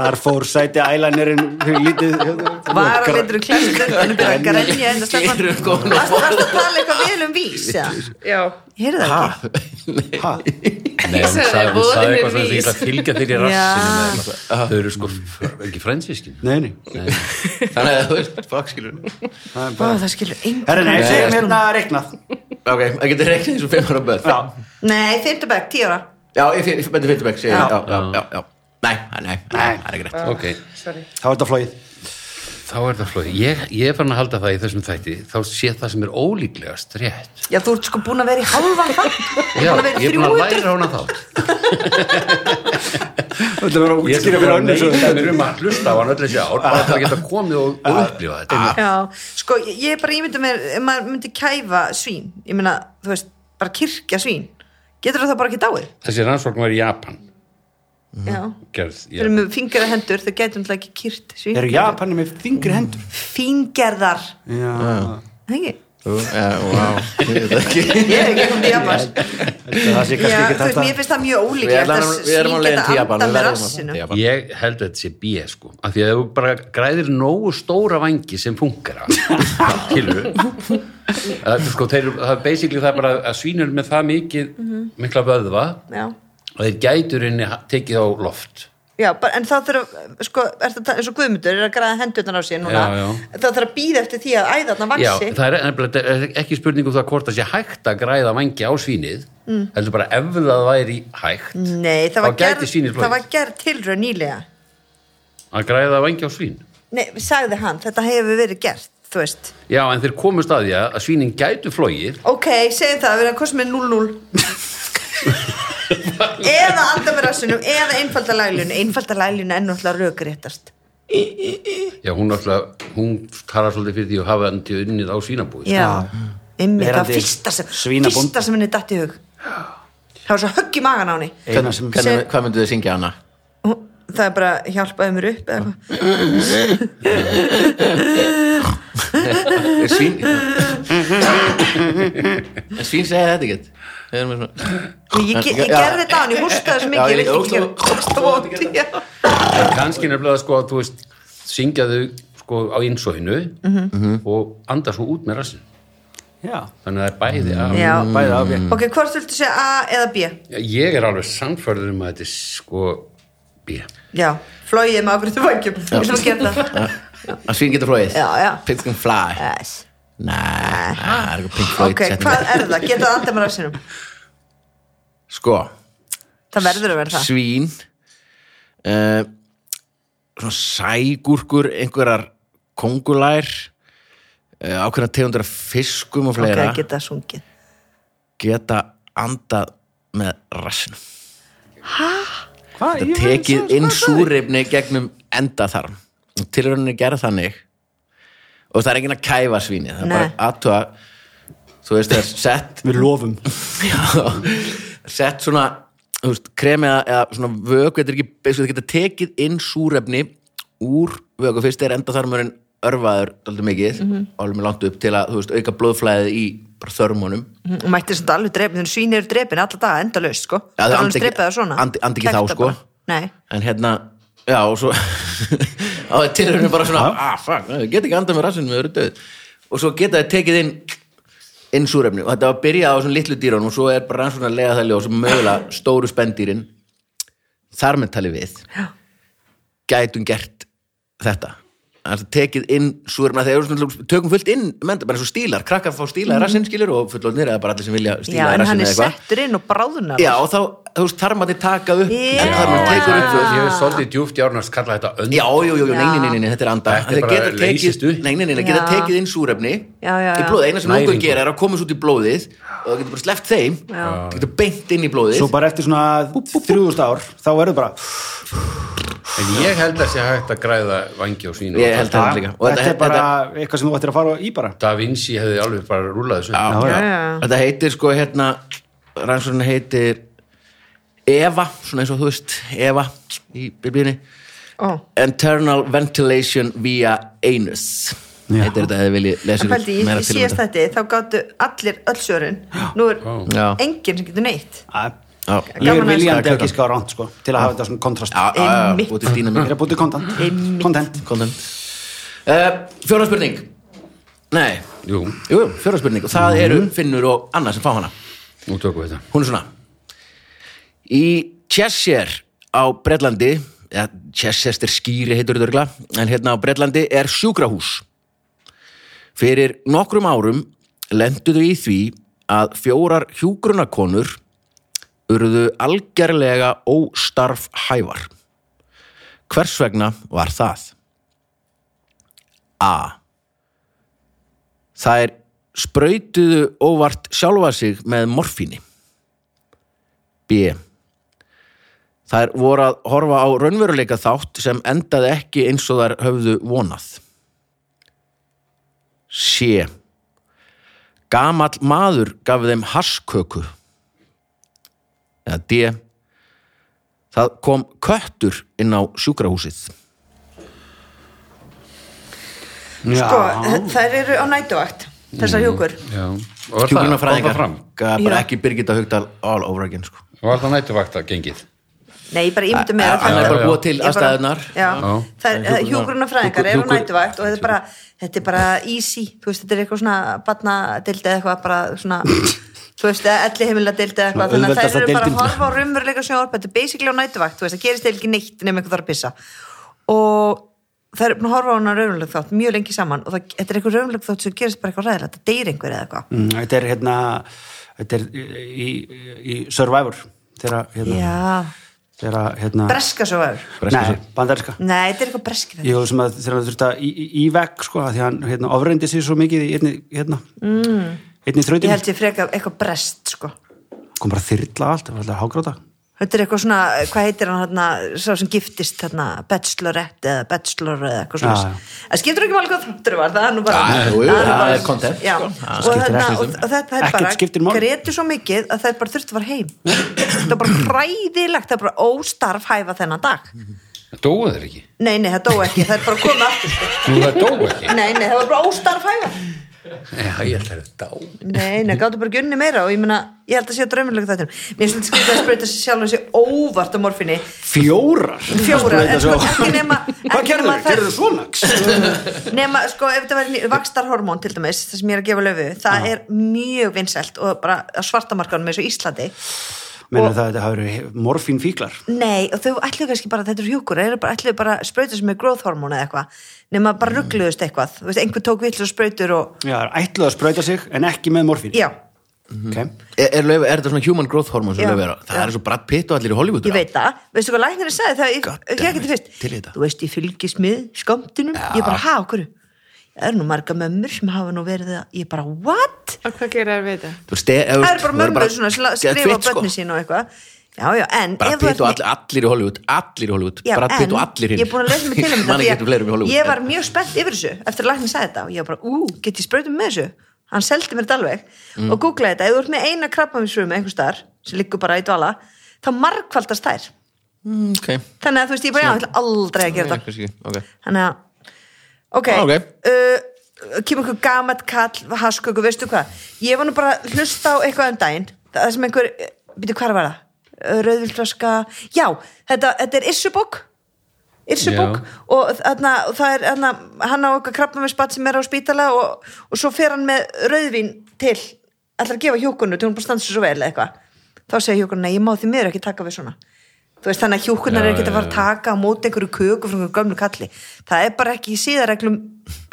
Þar fór sæti ælanirinn lítið. hérna,
Var að veitur klestur, en byrja að grenja en að stefna.
erum góðan og
Varst varstu að tala eitthvað vel um vís, já?
Já,
Heyrðu það
Ah.
ekki?
Ha?
Nei,
sagði,
hún
voðinn
sagði, hún sagði
er
eitthvað svona því
vís.
að fylgja þér í
Já.
rassinu. Þau eru sko f- ekki fransískin.
Nei, nei.
Þannig að þú veist, fuck skilur
Það er
Ó,
bara...
það skilur
Herra,
enginn.
nei, segjum hérna að reiknað.
Ok, það getur reiknað eins og fimm ára böð
Já.
Nei, fyrndabæk, tíu ára.
Já, ég fyrir, betur fyrir tilbæk, segir ég, já, já, já, já Nei, nei, nei, það er ekki rétt
Ok,
sorry
Þá er þetta flóið.
þá er það flóið. Ég, ég er farin að halda það í þessum þætti, þá sé það sem er ólíklegast rétt.
Já, þú ert sko búin að vera í halvan þátt.
Já,
Búin að vera í
ég er búin að
300.
læra hana þá.
Þetta er bara að
Ég
útskýra
þurfti
fyrir
bara að
önnur svo-
neyta mér um að hlusta á hann öll þessi ár bara til að geta komið og,
Ah.
og upplifa þetta
Já, sko, ég er bara ímyndum mér ef maður myndi kæfa svín ég meina, þú veist, bara kirkja svín getur það þá bara ekki dáið
Þessi rannsókn var í Japan
Mhm. Já,
gerð í
við erum með fingjara hendur þau getur náttúrulega ekki kyrt svín
Eru Japanir með þingri hendur?
Fingerðar,
Já.
ekki?
Þú, já, vá, ég veit það ekki.
Ég er ekki komið til Japans
Það sé
Já, þú
kannski ekki
veist,
þetta.
mér finnst það mjög
Við
ólíklegt
erum
að
alveg- við erum
svín
alveg
geta
til Japan, við
andað með
verðum að-
rassinu
til Japan.
Ég held að þetta sé bíð sko af því að ef þú bara græðir nógu stóra vangi sem funkar að kilur sko, þeir, það er basically það er bara að svínur með það mikið mikla vöðva
Já,
og þeir gætur inni tekið á loft
já bara, en þá þurf sko, er það, eins og Guðmundur er að græða hendutan á sér núna,
Já, já.
þá þarf að býða eftir því að æðarna
Já,
vaksi
það er nefnilega ekki spurning um það hvort það sé hægt að græða vangi á svínið heldur bara ef það væri hægt
Nei, það var,
Þá gæti
gerð,
svínið flogið.
það var gerð tilraun nýlega
að græða vangi á svín
Nei, sagði hann, þetta hefur verið gert þú veist,
Já, en þeir komust að því að að svínin gætu flogið
ok, segjum það við erum að kosta með 0-0 eða anda með rassinum eða einfalda lælun einfalda lælun er náttúrulega rökréttast
Já, hún náttúrulega, hún talar svolítið fyrir því að hafa hann til unnið á svínabúið
já, einmitt, það var
Verandi
fyrsta sem
svínabónd.
fyrsta sem henni datt í hug það var svo högg í magan á henni
Hvenær sem-
Hvernig- Hvað myndu þið syngja hana?
Hún- það er bara hjálpaði mér upp eða eitthvað
Er svín En svín segja þetta ekkert Þau eru með svona
Ég, ég, ég, ég
Já.
gerði þetta á hann, ég hústaði svo mikið
Já,
ég
ég-
vildi ekki
ógeðslega-
gera ógeðslega vont, já.
En kannski nefnilega sko að þú veist syngja þau sko á innsóinu
Mhm.
og anda svo út með rassin
Já, Mm.
þannig að það er bæði að
Já.
bæði af ég.
ok, hvort viltu segja A eða B
ég er alveg samförður um að þetta er sko bíja
já, flóið með ágrúttu vangjum ég ætla að gera það
Að svín getur flóið
Já, já.
Pink and fly
yes.
Nei, það er eitthvað pink flóið
ok, hvað er það, geta það andað með rassinum
Sko,
það verður að vera það
svín uh, Svona sægúrkur Einhverjar kongulær uh, Ákveðna tegundar af fiskum og
ok,
fleira
geta það sungið
Geta andað með rassinum
Hvað?
Það
Ég-
tekið inn súrifni gegnum endaþarm og tilrauninni gerð þannig og það er enginn að kæfa svíni það er
Nei.
bara aðtúa þú veist það er sett
Við lofum.
já, sett svona þú veist, kremi eða, eða svona vöku þetta er ekki, þessu þetta geta tekið inn súrefni úr vöku, fyrst er endaþarmurinn örfaður alltaf mikið mm alveg með langt upp til að þú veist, auka blóðflæðið í bara þörmunum
og Mhm, mætti samt alveg drepin, þannig svín eru drepin alltaf daga endalaust, sko
Já, þau
Það er
andi
alveg
ekki-
drepið það svona
andi- andi ekki þá,
Kæfta
sko.
bara. nei,
en hérna já og svo á það tilhörinu bara svona ah fuck, þau geta ekki andað með rassinu við eru döð og svo geta þau tekið inn inn súrefni og þetta var að byrja á svona litlu dýrunum og svo er bara rannsókn að lega það ljós og mögulega stóru spendýrin þar með tali við já. gætum gert þetta Þannig að tekið inn súrefna þegar svona, tökum fullt inn, menn, bara eins og stílar krakkar fá stíla í rassinn skilur og fullotnir eða bara allir sem vilja
Mhm. já,
stíla í
en hann
rassinn
er
eða eitthvað
settur inn og bráðunar
Já, og þá, þú veist, þarmatni taka upp
Já.
þarmatni tekur upp þú-
ég hef svolítið djúft í árnars kalla þetta önd
Já, jú, jú, jú,
Já.
nei, nei, nei, nei, þetta er anda
Þetta er bara
geta
leysist upp.
tekið, nei, nei, nei, nei, geta
Já.
tekið inn súrefni
Já, já,
í
já.
blóðið, eina sem lungun
Næringu.
gera er að koma svo út í blóðið og það getur bara sleppt þeim það getur beint inn í blóðið
Svo bara eftir svona 3000 ár, þá verður bara...
en ég held að sé hægt að græða vangi á svínu
Ég held það líka Og
Þetta er bara eitthvað sem þú ættir að fara í bara.
Da Vinci hefði alveg bara rúlað þessu
já,
Já,
já.
já.
Þetta heitir sko hérna rannsóknin heitir Eva, svona eins og þú veist Eva í biblíunni
Ó.
Internal Ventilation via Anus
Já.
heitir þetta hefði viljið lesa
En pældi, í-
meira
í
til um
síðast þetta þá gáttu allir öll svörin nú er
Já.
enginn sem getur neitt
Já.
Ég er
Gaman að-
viljandi að gíska á ránt, sko, til að hafa þetta svona kontrast.
Já, já, já,
Einmitt.
út í dýna
Ég er að búti kontent. Kontent.
content uh, Fjóra spurning Nei,
Jú,
jú, fjóra spurning og það eru Finnur og Anna sem fá hana
nú tökum við þetta
Hún er svona Í Cheshire á Bretlandi ja, Cheshire skýri heitur þetta örgla en hérna á Bretlandi er sjúkrahús Fyrir nokkrum árum lenduðu í því að fjórar hjúgrunakonur urðu algerlega óstarf hævar Hvers vegna var það? A. Þær sprautuðu óvart sjálfa sig með morfíni B. Það er voru að horfa á raunveruleika þátt sem endaði ekki eins og þær höfðu vonað. Sé. Gamall maður gaf þeim hasköku. Eða D. Það kom köttur inn á sjúkrahúsið.
sko, þær eru á nætuvakt
Mm.
þessar hjúkur
Já. Og var það, var það
Hjúkrunarfræðingar.
fram?
Gaf Bara
Já.
ekki Birgitta Haugdal all over again, sko.
Var það nættuvakta gengið?
nei, ég bara ímyndu með
Hann er bara
já.
að búa til aðstæðunar.
Já.
hjúgrunafræðingar eh, eru
Hjúkrun-
nætuvægt og þetta er bara, þetta er bara easy þú veist, þetta er eitthvað svona batnadildi eða eitthvað bara svona þú veist, elli heimiladildi eða eitthvað þannig að þær
Auðveldasta
eru bara að
deildin.
horfa á raunveruleika sjónvarp þetta er basically á nætuvægt, þú veist, það gerist eiginlega ekki neitt nema eitthvað þarf að pissa og þær eru búin að horfa á hana raunveruleika þátt mjög lengi saman og það, þetta er eitthvað raunveruleika þátt sem gerist bara eitthvað ræðilegt, það deyr einhver eða eitthvað
Mm, Þetta er hérna þetta er í, í, í Survivor þegar að, hérna,
já,
þegar að, hérna
breska svo er
Breska
Nei, bandarinska
nei, þetta er eitthvað breski þetta
Jú, sem að þegar hann þurfti að í, í, í vekk sko, að því að hann hérna, ofreindi sér svo mikið í einni, hérna, mm. einni
ég
þrautin
held ég frekar eitthvað brest sko
kom bara þyrla allt, það var alltaf hágráta
Þetta er eitthvað svona, hvað heitir hann hérna, sá sem giftist hérna, bachelorette eða bachelor eða eitthvað
Já,
svona. Það skiptir ekki máli hvað þáttur var, það er nú bara...
Já, jú, jú,
nú
það
bara-
er content,
Já,
sko.
og,
skiptir
þarna,
ekkert
og, og þetta er
Ekkert skiptir
bara,
máli.
gretu svo mikið að það er bara þurftu var heim. það er bara hræðilegt, það er bara óstarf hæfa þennan dag.
Dóðu þeir ekki?
Nei, nei, það dó ekki, það er bara komið aftur. sko.
Nú það dóu ekki?
Nei, nei, það var bara óstarf hæfa.
Já, ég held þeir að dá.
Nei, nei, gáttu bara gunni meira og ég meina, ég held að sé að draumilega þetta. Mér finnst þetta skrifta að spreyta sér sjálf og sé óvart á morfinni.
Fjórar?
fjóra, en sko ekki nema
Hvað
ekki
gerðu?
nema það-
Gerðu svona?
nema sko ef þetta væri ný- vaxtarhormón til dæmis, það sem ég er að gefa löfu það er mjög vinsælt og bara á svartamarkanum eins og Íslandi
Menni það að þetta hafi verið morfín fíklar
nei og þau ætluðu kannski bara þetta eru hjúkur, þeir eru bara ætluðu bara sprautur sem er growth hormón eða eitthvað, nema
Mm.
bara ruggluðust eitthvað, þú veist, einhver tók vill og sprautur og
Já, það er ætluð að sprauta sig en ekki með morfín
já,
okay.
Er, er, Laufey- er þetta svona human growth hormone sem
Já,
löf er á? Það
já.
er svo bratt pitt og allir í Hollywood
ég veit það veistu hvað læknirinn sagði þegar ég,
God
ég
damn
geti
it,
fyrst
til í þetta.
þú veist, ég fylgist með skamtinum ég bara, ha, okkur það eru nú marga mömmur sem hafa nú verið að, ég bara, what?
Og hvað gerir það við þetta?
Þú veist, e- ef þú-
það eru bara
þú verður
mömmur svona sla-
geða
skrifa á
kvitt,
börni sín og eitthvað já, já, en
bara
ef þú
pitt
ert
og
með-
allir, allir í Hollywood allir í Hollywood,
já,
bara pitt
en
og allir hinn
ég er búin að lesa mig til um
mann ekki
þetta
eftir fleirum í
því að
Hollywood
ég var mjög spennt yfir þessu eftir að læknir sagði þetta og ég var bara, ú, get ég sprautum með þessu hann seldi mér þetta alveg
Mm.
og googlaði þetta, ef þú ert með eina krabbaminsfrum einhvers staðar, sem liggur bara í dvala þá margfaldast þær
mm, ok,
þannig að þú veist, ég bara, já, ég ætla aldrei að gera
Nei,
þetta
kannski ekki, ok
þannig að, ok,
Ah, ok.
Uh, kemur einhver gamat kall hasköku, veistu hvað ég var nú bara að hlusta á eitthvað um daginn það sem einhver, býtu hvað var það Uh, rauðvildflaska, já þetta, þetta er Issubók Irsubók
Já.
og, þarna, og það er þarna, hann á okkar krabba með spatt sem er á spítala og, og svo fer hann með rauðvín til ætlar að gefa hjúkunu til hún bara standa sér svo vel eða eitthvað þá segir hjúkunna, nei, ég má því miður ekki taka við svona þú veist þannig að hjúkunar
Já,
er ekki
já,
að fara að
já.
taka á móti einhverju köku frá einhverju gömlu kalli það er bara ekki í síðareglum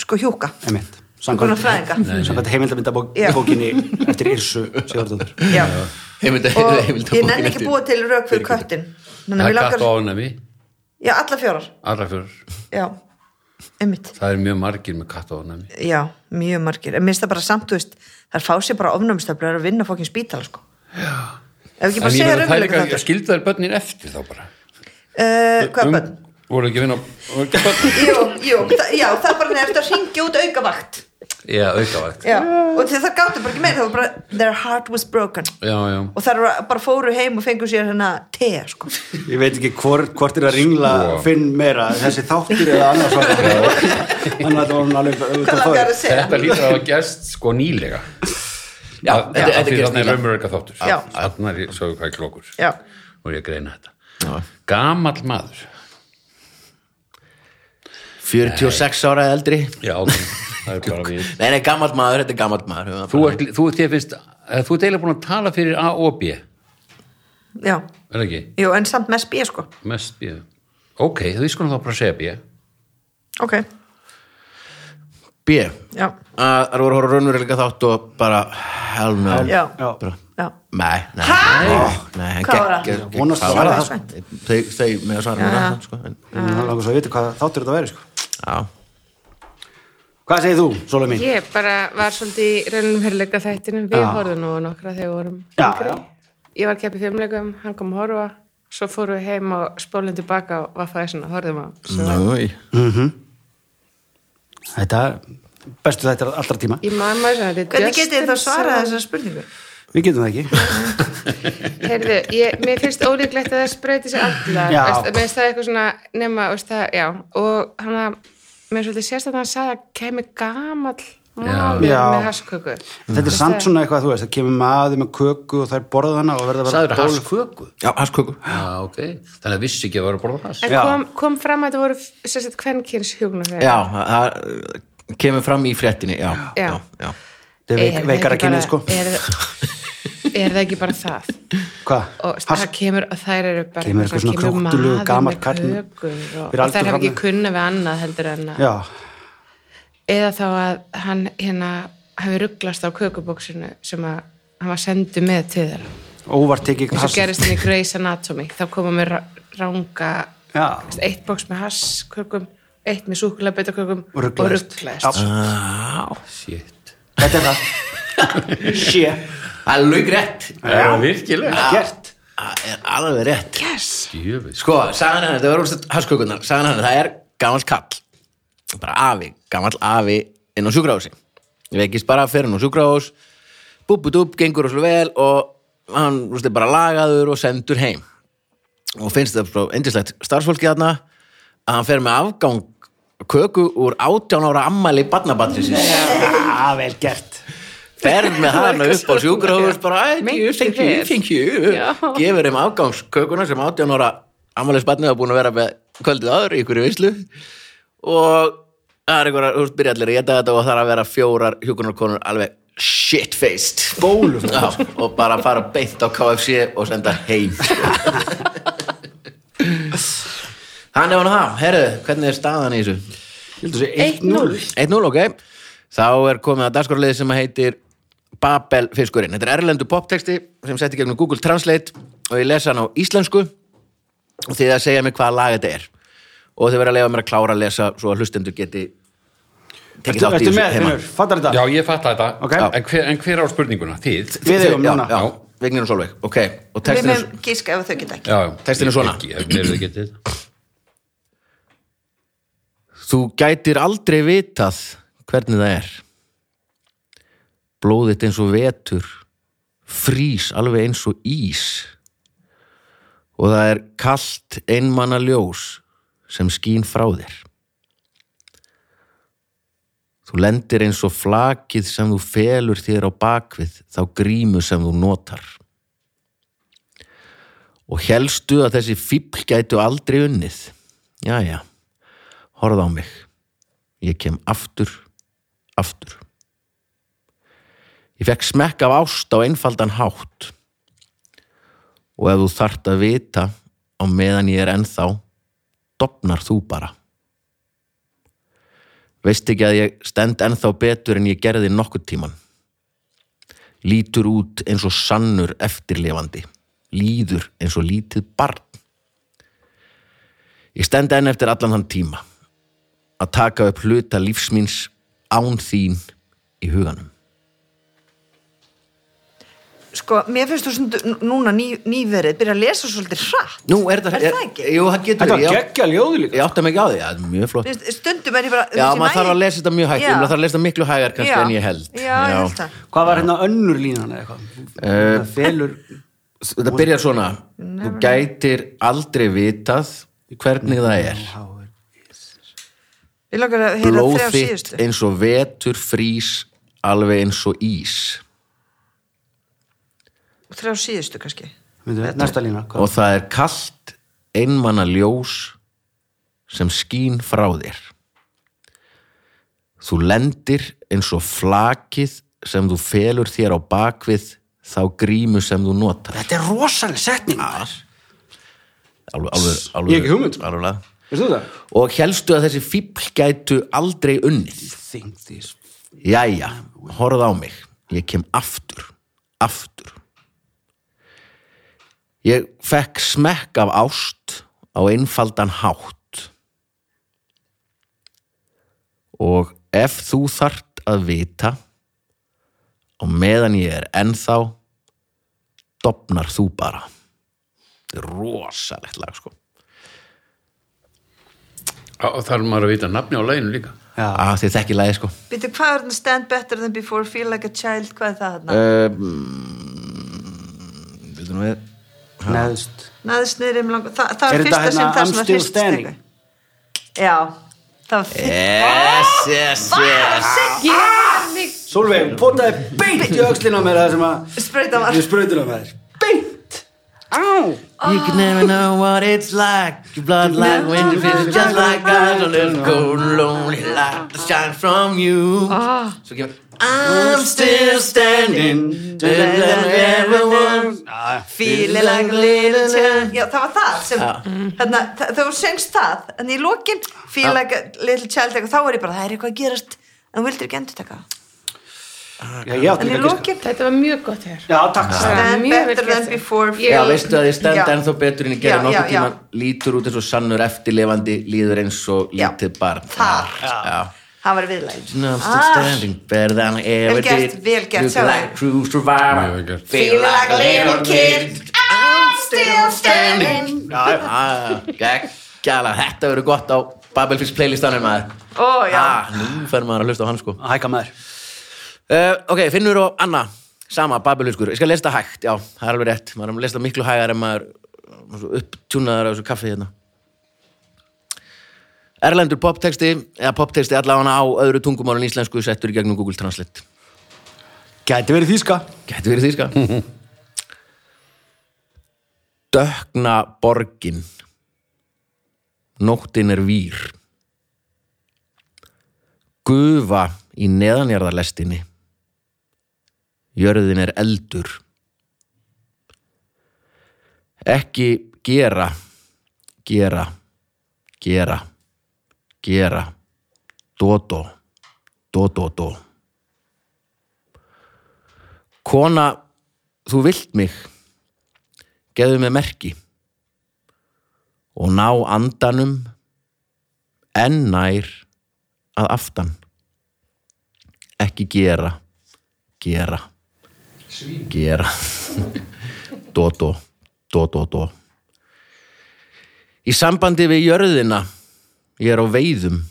sko hjúka
Einmitt,
Einhverjum fræðinga. Nei,
Samkvæmt
Já.
heimildamindabókinni eftir Yrsu Sigurðardóttur
Já.
Heimilda-
og
heimilda-
ég nenni ekki búa til rauk fyrir köttin Þannig að
Það
mig
er
langar-
gatt og ánæmi,
já, alla fjórar,
allra fyrir.
já, einmitt
Það er mjög margir með gatt og ánæmi.
já, mjög margir en minnst það bara samt, þú veist, þar fá sér bara ofnumstöflar að vinna fókin spítala sko. já, ef ekki bara
En ég
segja
meina, það er
raunveruleika
líka,
þetta
ég Um- skildi þær börnin eftir þá bara.
uh, hvað bönn?
Voru ekki að vinna, voru ekki börn?
Jú, jú, það, já, það er bara nefnt að ringja út aukavakt
Já, aukavægt.
já. og þegar það gáttu bara ekki meira það var bara, their heart was broken
Já, já.
og það bara fóru heim og fengu sér hérna te, sko
Ég veit ekki hvort, hvort er að ringla
Sko.
Finn meira, þessi þáttur eða annars var Þannig að það var hún alveg
hvað langar að segja?
Þetta lítur að hafa gerst sko nýlega.
Já,
Að-
þetta-
að
þetta
því
gerist
Þarna er
nýlega.
raumuröka þáttur.
Já.
Þarna er svo hvað klokkur.
já,
Og ég að greina þetta. Gamall maður.
46 ára eldri
Já, ok. það er bara við.
nei, nei, gamalt maður, þetta er gamalt maður Höfum það
Þú
bara-
ert, þú ert, ég finnst, eh, þú ert eiginlega búin að tala fyrir A og B, er
já,
það ekki?
jú, en samt mest bíð, sko
Mest B. Ok, þú skulum þá bara segja B.
ok,
B
já,
að það voru að horfa raunveruleika þátt og bara hell no
já,
Já,
já
nei, nei,
Ha?
Ó, nei hann
Hvað var það?
gegg- gegg-
Vonast
hvað var
að svara
það? þau, þau með að svara mér
Já.
það, sko, en-
það langar svo að vita hvað þáttur þetta verið sko.
já,
Hvað segir þú, Sólum mín?
Ég bara var svolítið í raunum veruleika þættinum. Við
Já.
horfðum nú á nokkra þegar við vorum
Já,
yngri. Ég var að keppa í fimmleikum, hann kom að horfa. svo fórum við heim og spólum tilbaka og var fæðið svona, horfðum á svo,
Mm.
Næ,
Þetta, bestu þetta allra tíma
ég man maður svona, þetta
Hvernig getið þið þá svarað þessar spurningu?
Við getum það ekki
Heyrðu, ég, mér finnst ólíklegt að það spreyti sér allar
Já.
veist, mér finnst það eitthvað svona nema veist, það, já, og hann að mér er svolítið sérst að hann sagði að kemi gamall maður
Já.
með hasköku
Þetta er samt svona eitthvað, þú veist, það kemur maður með köku og þær borða hana og verða að
Sæður
vera
hans köku?
já, hasköku
Já, ok. Þannig að vissi ekki að vera að borða hans.
en
Já.
kom, kom fram að þetta voru sérst kvennkins hugnafjör
Já, það- það kemur fram í fréttinni Já, já,
Já.
já, já.
Þetta er veik, veikara kynnið, sko.
er, er það ekki bara það
Hvað?
og
Has-
það kemur og þær eru bara
Kemur eitthvað
það
svona krúttulegur
maður
gamall
með
karl með-
kökur og,
fyrir
og þær
aldur
hafa
fram-
ekki kunna við annað heldur en að
Já,
eða þá að hann hérna hafi rugglast á kökubóksinu sem að hann var sendu með til þeirra
óvart tekið
eins og
hass-
gerist hann í Grey's Anatomy þá koma mér ranga
Já,
veist, eitt bóks með hasskökum eitt með súkulabitakökum
Og
og
ruglaðist.
rugglast
Shit.
þetta er það. Sjö.
Það er laug rétt
Já, virkilega.
Gert.
Það er alveg rétt
yes,
Djöfis.
Sko, sagðan hann, þetta var úrst haskökunar sagðan hann, það er gamall kall bara afi, gamall afi inn á sjúkrahúsi ég veikist bara fyrir hann á sjúkrahús búbudúb, gengur og svo vel og hann úrst er bara lagaður og sendur heim og finnst það svo endislegt starfsfólki þarna að hann fer með afgang köku úr 18 ára ammæli barnabatrinsins
Já, Ah, vel gert.
ferð með hana upp á sjúkrahús bara, "Æ, thank you, thank you, thank you
Já.
gefur þeim afgangskökuna sem 18 ára ammælisbarnið hafa búin að vera með kvöldið áður í ykkur veislu og það er einhverja, þú veist, byrja allir að geta þetta og það er að vera fjórar hjúkunarkonur alveg shit-faced
Bólum.
Já, og bara fara beint á KFC og senda heim Hann er hann það, herðu, hvernig er staðan í þessu?
Ég held að sé 1-0.
1-0, ok þá er komið að dagskorliði sem heitir Babel fiskurinn þetta er erlendu poptexti sem setti gegnum Google Translate og ég lesa hann á íslensku og þið að segja mér hvaða lag þetta er og þið verða að leifa mér að klára að lesa svo að hlustendur geti tekið þátt
Ertu
í
ertu
þessu
með,
heima.
Finnur? Fattar þetta?
Já, ég fatta þetta.
Ok.
En, hver, en hver á spurninguna? Þið?
Við eigum
já,
núna.
já, Vignir og Solveig, ok og
Við
textin er
meðum gíska ef þau geta ekki.
Já, já.
Textinn er svona.
Ekki, ef mér þið getið.
Þú gætir aldrei vitað hvernig það er. Blóðið eins og vetur, frýs alveg eins og ís. Og það er kalt einmanna ljós sem skín frá þér. Þú lendir eins og flakið sem þú felur þér á bakvið þá grímu sem þú notar. Og helstu að þessi fíbl gætu aldrei unnið. Jæja horfð á mig. Ég kem aftur, aftur. Ég fekk smekk af ást á einfaldan hátt og ef þú þart að vita á meðan ég er ennþá, dopnar þú bara. Veist ekki að ég stend ennþá betur en ég gerði nokkur tíman. Lítur út eins og sannur eftirlifandi, líður eins og lítið barn. Ég stend enn eftir allan þann tíma að taka upp hluta lífsmins án þín í huganum.
Sko, mér finnst þú sem núna ný, nýverið byrja að lesa svolítið hratt.
Nú, er það,
Er það ekki?
Jú, það getur
Þetta var
ég á-
geggja ljóðu líka.
Ég átta mig ekki á því, það er mjög flott.
Mér finnst- Stundum er ég bara...
Já,
þessi
maður þarf
næg-
að lesa þetta mjög hægt,
Já.
ég maður þarf að lesa þetta miklu hægar kannski
Já.
en ég held.
Já, ég held það.
Hvað var hérna önnur línan eða eitthvað? Það felur...
Þetta byrjar svona, þú gætir aldrei vitað hvernig það er.
Ég langar að heyra
Blóð
þrjá
þitt
síðustu.
eins og vetur frýs alveg eins og ís.
Þrjá síðustu kannski.
Myndu, Næsta lína. hvað?
og það er kalt einmanna ljós sem skín frá þér. Þú lendir eins og flakið sem þú felur þér á bakvið þá grímu sem þú notar.
Þetta er rosalega setning. maður.
Alveg, alveg, alveg,
Ég ekki hugmynd.
Alveg, alveg.
Veist þú Ah, það?
Og helstu að þessi fíbl gætu aldrei unnið.
Think this.
Jæja, horfð á mig. Ég kem aftur, aftur. Ég fekk smekk af ást á einfaldan hátt. Og ef þú þart að vita, og meðan ég er ennþá, dopnar þú bara. Þetta er rosalegt lag sko
og þarf maður að vita nafni á læginu líka
Já,
að þið þekki lagi sko
Býtu, hvað er þarna stand better than before, feel like a child, hvað er það þarna?
Vildu nú við
neðst
Neðst niður um langa, það, það
Er
er
þetta
fyrsta
hérna
sem það sem
I'm
að
still
hristist
standing?
eitthvað. Já, það var fyrst.
Eh. Yes, yes, yes
Solveig, potaði beint í öxlina á mér það sem að
Sprauta var.
ég sprautur á mér Beint! Á!
You can never know what it's like Your blood like when you feel just like us A little cold and lonely light that shines from you
Ah.
Svo kemur I'm still standing Better than everyone Ah.
Feeling like a little child Já, það var það sem Mm. þarna, þa- þegar þú söngst það, en í lokin
Ah.
feel like a little child, eitthvað, þá er ég bara það er eitthvað að gerast, en þú vildir ekki endur taka
Já, ég átti
en í
líka ekki
lokin
Þetta var mjög gott hér
Já, takk
Já.
sér
stand
mjög vel
better than
gert.
before
Ég-
Já, veistu að ég stend
Já.
ennþá betur en ég
Já,
gerði nokkuð
já, já.
tíma Lítur út eins og sannur eftirlifandi Líður eins og
Já.
lítið barn
Þar.
Já
það var Ah. viðlæg
No, I'm still standing better than I ever
Vel gert,
did
vel gert,
Look
sjáðu.
like true survivor
Vel gert.
Feel like a little kid
I'm still standing
Gæla, þetta verður gott á Babelfis playlistanum maður
Ó, já.
ah, Nú fer maður að hlusta á hann sko uh,
Hækka maður
Eh, Ok, finnur og Anna Sama, Babeliskur, ég skal lesa það hægt Já, það er alveg rétt, maður er að lesa það miklu hægar en maður er svo upptjúnaður á þessu kaffi hérna Erlendur poptexti eða poptexti allavega á öðru tungumál en íslensku settur í gegnum Google Translate
Gæti verið þýska
Gæti verið þýska Dökna borgin Nóttin er vír Gufa í neðanjarðarlestinni Jörðin er eldur Ekki gera Gera Gera Gera Dodo Dodo do. Kona, þú vilt mig. Geðu mig merki. Og ná andanum enn nær að aftan. Ekki gera, gera, gera. Dótó, dótó, dó. Í sambandi við jörðina, ég er á veiðum,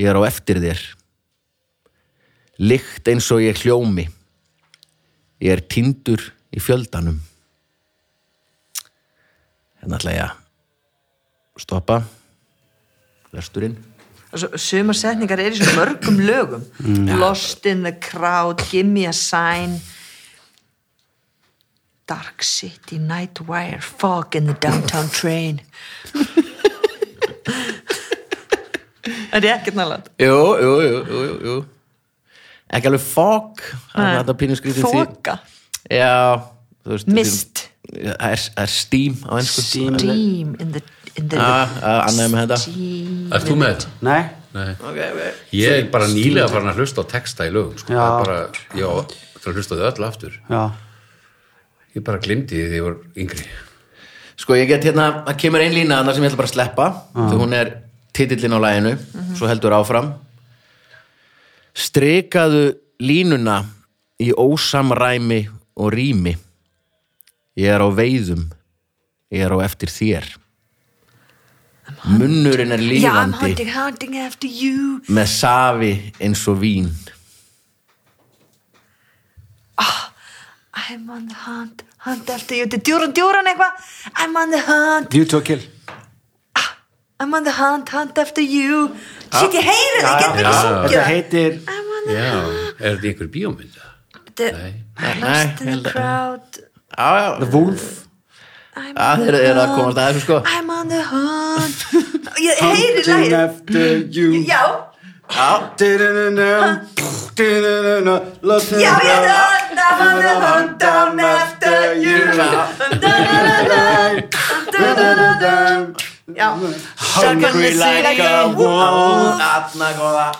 ég er á eftir þér. Lykt eins og ég hljómi. Ég er tindur í fjöldanum. Hérna ætla ég að stoppa lesturinn.
Svo- sumar setningar er í svo mörgum lögum
Mm.
lost in the crowd give me a sign dark city night wire fog in the downtown train er ég ekkert nálega
Jú, jú, jú, jú, jú, jú. Ekki alveg fog, það er þetta pínu skrítið því.
foka,
Já, þú veist.
mist
Já, Það er, það er steam á ennsku.
Steam.
dream in the, in the
Já, já, annað með þetta.
steam
Ert þú með þetta?
Nei,
Nei.
Ok, ok.
Ég er bara nýlega farin að hlusta á texta í lögum sko.
Já.
Það er bara, já, það er að hlusta á þau öll aftur
já
Ég bara glimti því þegar ég var yngri
Sko, ég get hérna, það kemur ein lína annað sem ég ætla bara að sleppa, því hún er titillin á læginu, svo heldur áfram. Strikaðu línuna í ósamræmi og rými. Ég er á veiðum, ég er á eftir þér. Munnurinn er
yeah I'm
lífandi
hunting, hunting after you
með safi eins og vín.
I'm on the hunt, hunt after you þetta er djúran djúran eitthvað I'm on the hunt
View to a kill
I'm on the hunt, hunt after you Shit, ég heyri það, ég get
já,
ekki
já.
sungið
Þetta
það.
heitir
I'm on
Já, er þetta einhver bíómynda?
the
Nei,
lost in
held
the
að-
crowd
Já, já. The Wolf.
I'm
Já,
on
þeir
the
eru að
hunt,
komast að þessu, sko.
I'm on the hunt Ég heyri
Hunting
lagið
after you
Já,
Du-du-du-du, du-du-du-du, lost in
já,
the
já,
crowd.
I'm on the hunt, down after you Da-da-da-da. Já,
Hungry like a wolf Oh. Þarna góða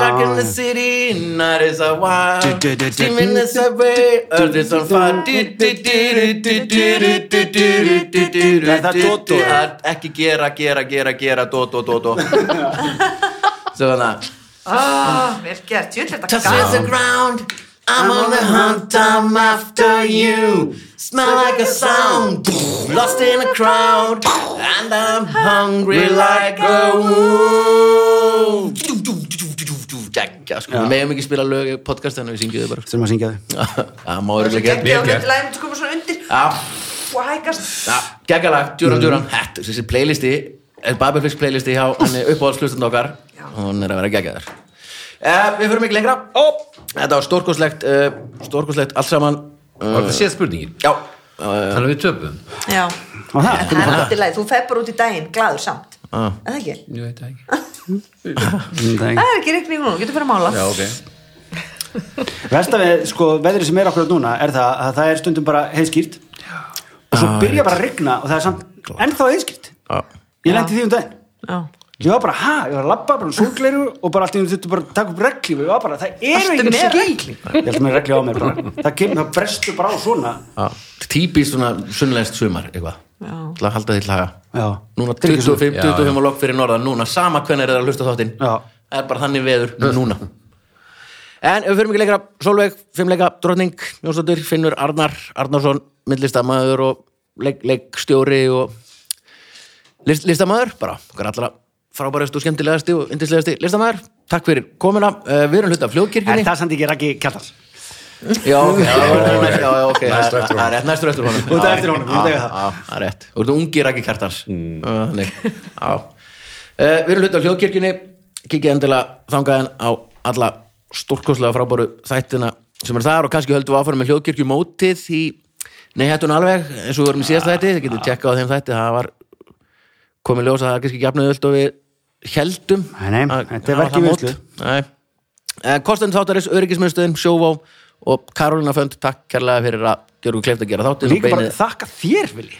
Dark in the city, night is a wild Steam in the subway, earth is on fire
Er það Dótó?
Það er Ekki gera, gera, gera, gera Dótó, Dótó Svona
Ah, vel gert, ég ætla
Touch
þetta
the ground I'm on the hunt, I'm after you Smell like a sound Lost in a crowd And I'm hungry like a wolf Jack, sko, við meðum ekki spila lög í podcastinu, við syngjum þau bara sko.
sem að syngja þau
Það má örugglega gera.
Gekkja á myndi lægum til koma svona undir
Já,
og hækast
já, geggjalag, djúran, djúran Þetta, þessi playlisti, Babelfix playlisti hjá henni uppáhaldslustund okkar
Já.
hún er að vera geggjaðar uh, Við fyrir mikið lengra Þetta var stórkoslegt, uh, stórkoslegt allt saman Eh,
Var þetta séð spurningin?
Já, uh,
Þannig að við töpum?
Já,
og það,
það er alltaf leið, þú feppar út í daginn glaður samt,
Ah.
en það ekki
Ég veit það ekki.
hvernig
Það er ekki reikning núna, þú getur fyrir að mála
Já, ok.
Versta við, sko, veðrið sem er okkur átt núna er það að það er stundum bara heiðskýrt og svo byrja bara að rigna og það er samt ennþá heiðskýrt
já,
Ég lendi því um daginn
Já,
Ég var bara, ha, ég var að labba bara um sólgleru og bara allt í einu þurftu bara að taka upp reglíf og ég var bara, það eru
Ertu
ekki
með
reglíf Ég held með reglíf á mér bara Það kemur, það brestur bara á svona
já Típist svona sunnlenskt sumar, eitthvað
Já.
Til að halda því til haga
Já,
Núna
Þetta er ekki svona.
25,
Já,
25 lok fyrir norðan Núna, sama hvernig er það að hlusta á þáttinn
Já.
Það er bara þannig veður núna En ef við fyrir mikið lengra Solveig, fimmleika, drottning, Jónsdóttir Finnur Arnar, Arnarsson, myndlistamæður og leik, leikstjóri og list, listamæður bara, okkar allra frábærasti og skemmtilegasti og yndislegasti listamæður Takk fyrir komuna, Eh, við erum hluta af
Er
fljóðkirkjunni
það samt ekki Raggi Kjartars?
Já, ok, já,
já,
já, já, ok
Næst á eftir honum.
Það er rétt, næstur eftir honum
Þú ert
Já,
á eftir honum, Mm.
já,
ég veit
já,
það.
já, Það er rétt, þú ert ungi rækki kjartans Þannig, já Eh, Við erum hluti á hljóðkirkjunni Kikið endilega þangaðin á alla stórkoslega frábæru þættina sem er þar og kannski höldum við áfærum með hljóðkirkjumótið í Nei, hættun alveg, eins og við vorum í síðasta þætti þið getur tjekkað á þeim þætti, það var komið ljós að það er kannski gefnuðöld og við heldum
Nei, nei,
að-
þetta er
að
verk í
það
vinnslu.
mót. Nei. Eh, Kostendur þáttarins, öryggismiðstöðin, sjóvá og Karolina Fönd, takk kærlega fyrir að gera okkur kleift að gera þáttin og
Líka bara
beinið
þakka þér, Vili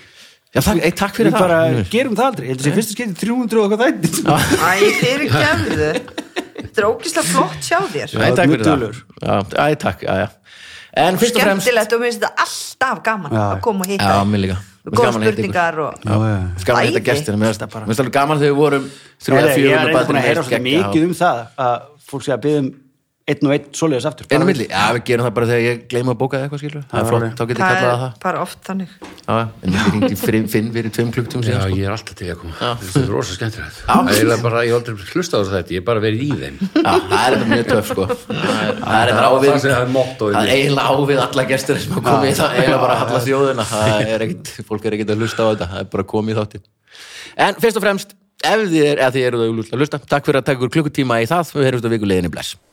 Já, takk, ei, takk fyrir
Við
það
bara gerum það aldrei, ég held að sé fyrstu skeiti 300 og eitthvað þætti
æ, fyrir gefðu Þetta er ógislega flott sjá þér
Ei, takk fyrir það
Nuddulur.
Já, ei, takk, já, já En fyrst og fremst
Skemmtilegt og mér finnst þetta alltaf gaman
Já.
að koma og hitta
Já, mér líka. Mér finnst
Góða
gaman að hitta ykkur.
spurningar og
Finnst gaman að hitta
Æði.
gestina, mér finnst- mér finnst alveg gaman þegar við vorum þrjú
Ég
eða
er
fjögur með
eitthvað
barnum
búin að
eitt
heyra svolítið
geggjað.
mikið um það að fólk sé að byggja um einn og einn svoleiðis aftur
Inn á milli, já við gerum það bara þegar ég gleyma að bóka eða eitthvað skilur Það er
var
flott,
alveg.
þá getur ég
Það
kallað
er
að það
bara oft þannig
Já, En ég ringdi fri- Finn fyrir tveim klukktum
Já,
síðan sko.
ég er alltaf til í að koma. Þetta er rosa skemmtilegt. Það er eiginlega bara, ég hef aldrei hlusta á þess að þetta, ég er bara verið í þeim.
Já, það er þetta mjög töf sko Það er- það er
Það
þetta
var það
ávið
sem það er mottóið.
Það er eiginlega ávið alla gestur sem hafa komið í það eiginlega bara alla þjóðina Það er ekkit, fólk er ekkit að hlusta á þetta Það er bara komið í þáttinn En fyrst og fremst, ef þið, er, ef þið eru það að hlusta Takk fyrir að taka ykkur klukkutíma í það Við heyrjumst á vikuleginni, bless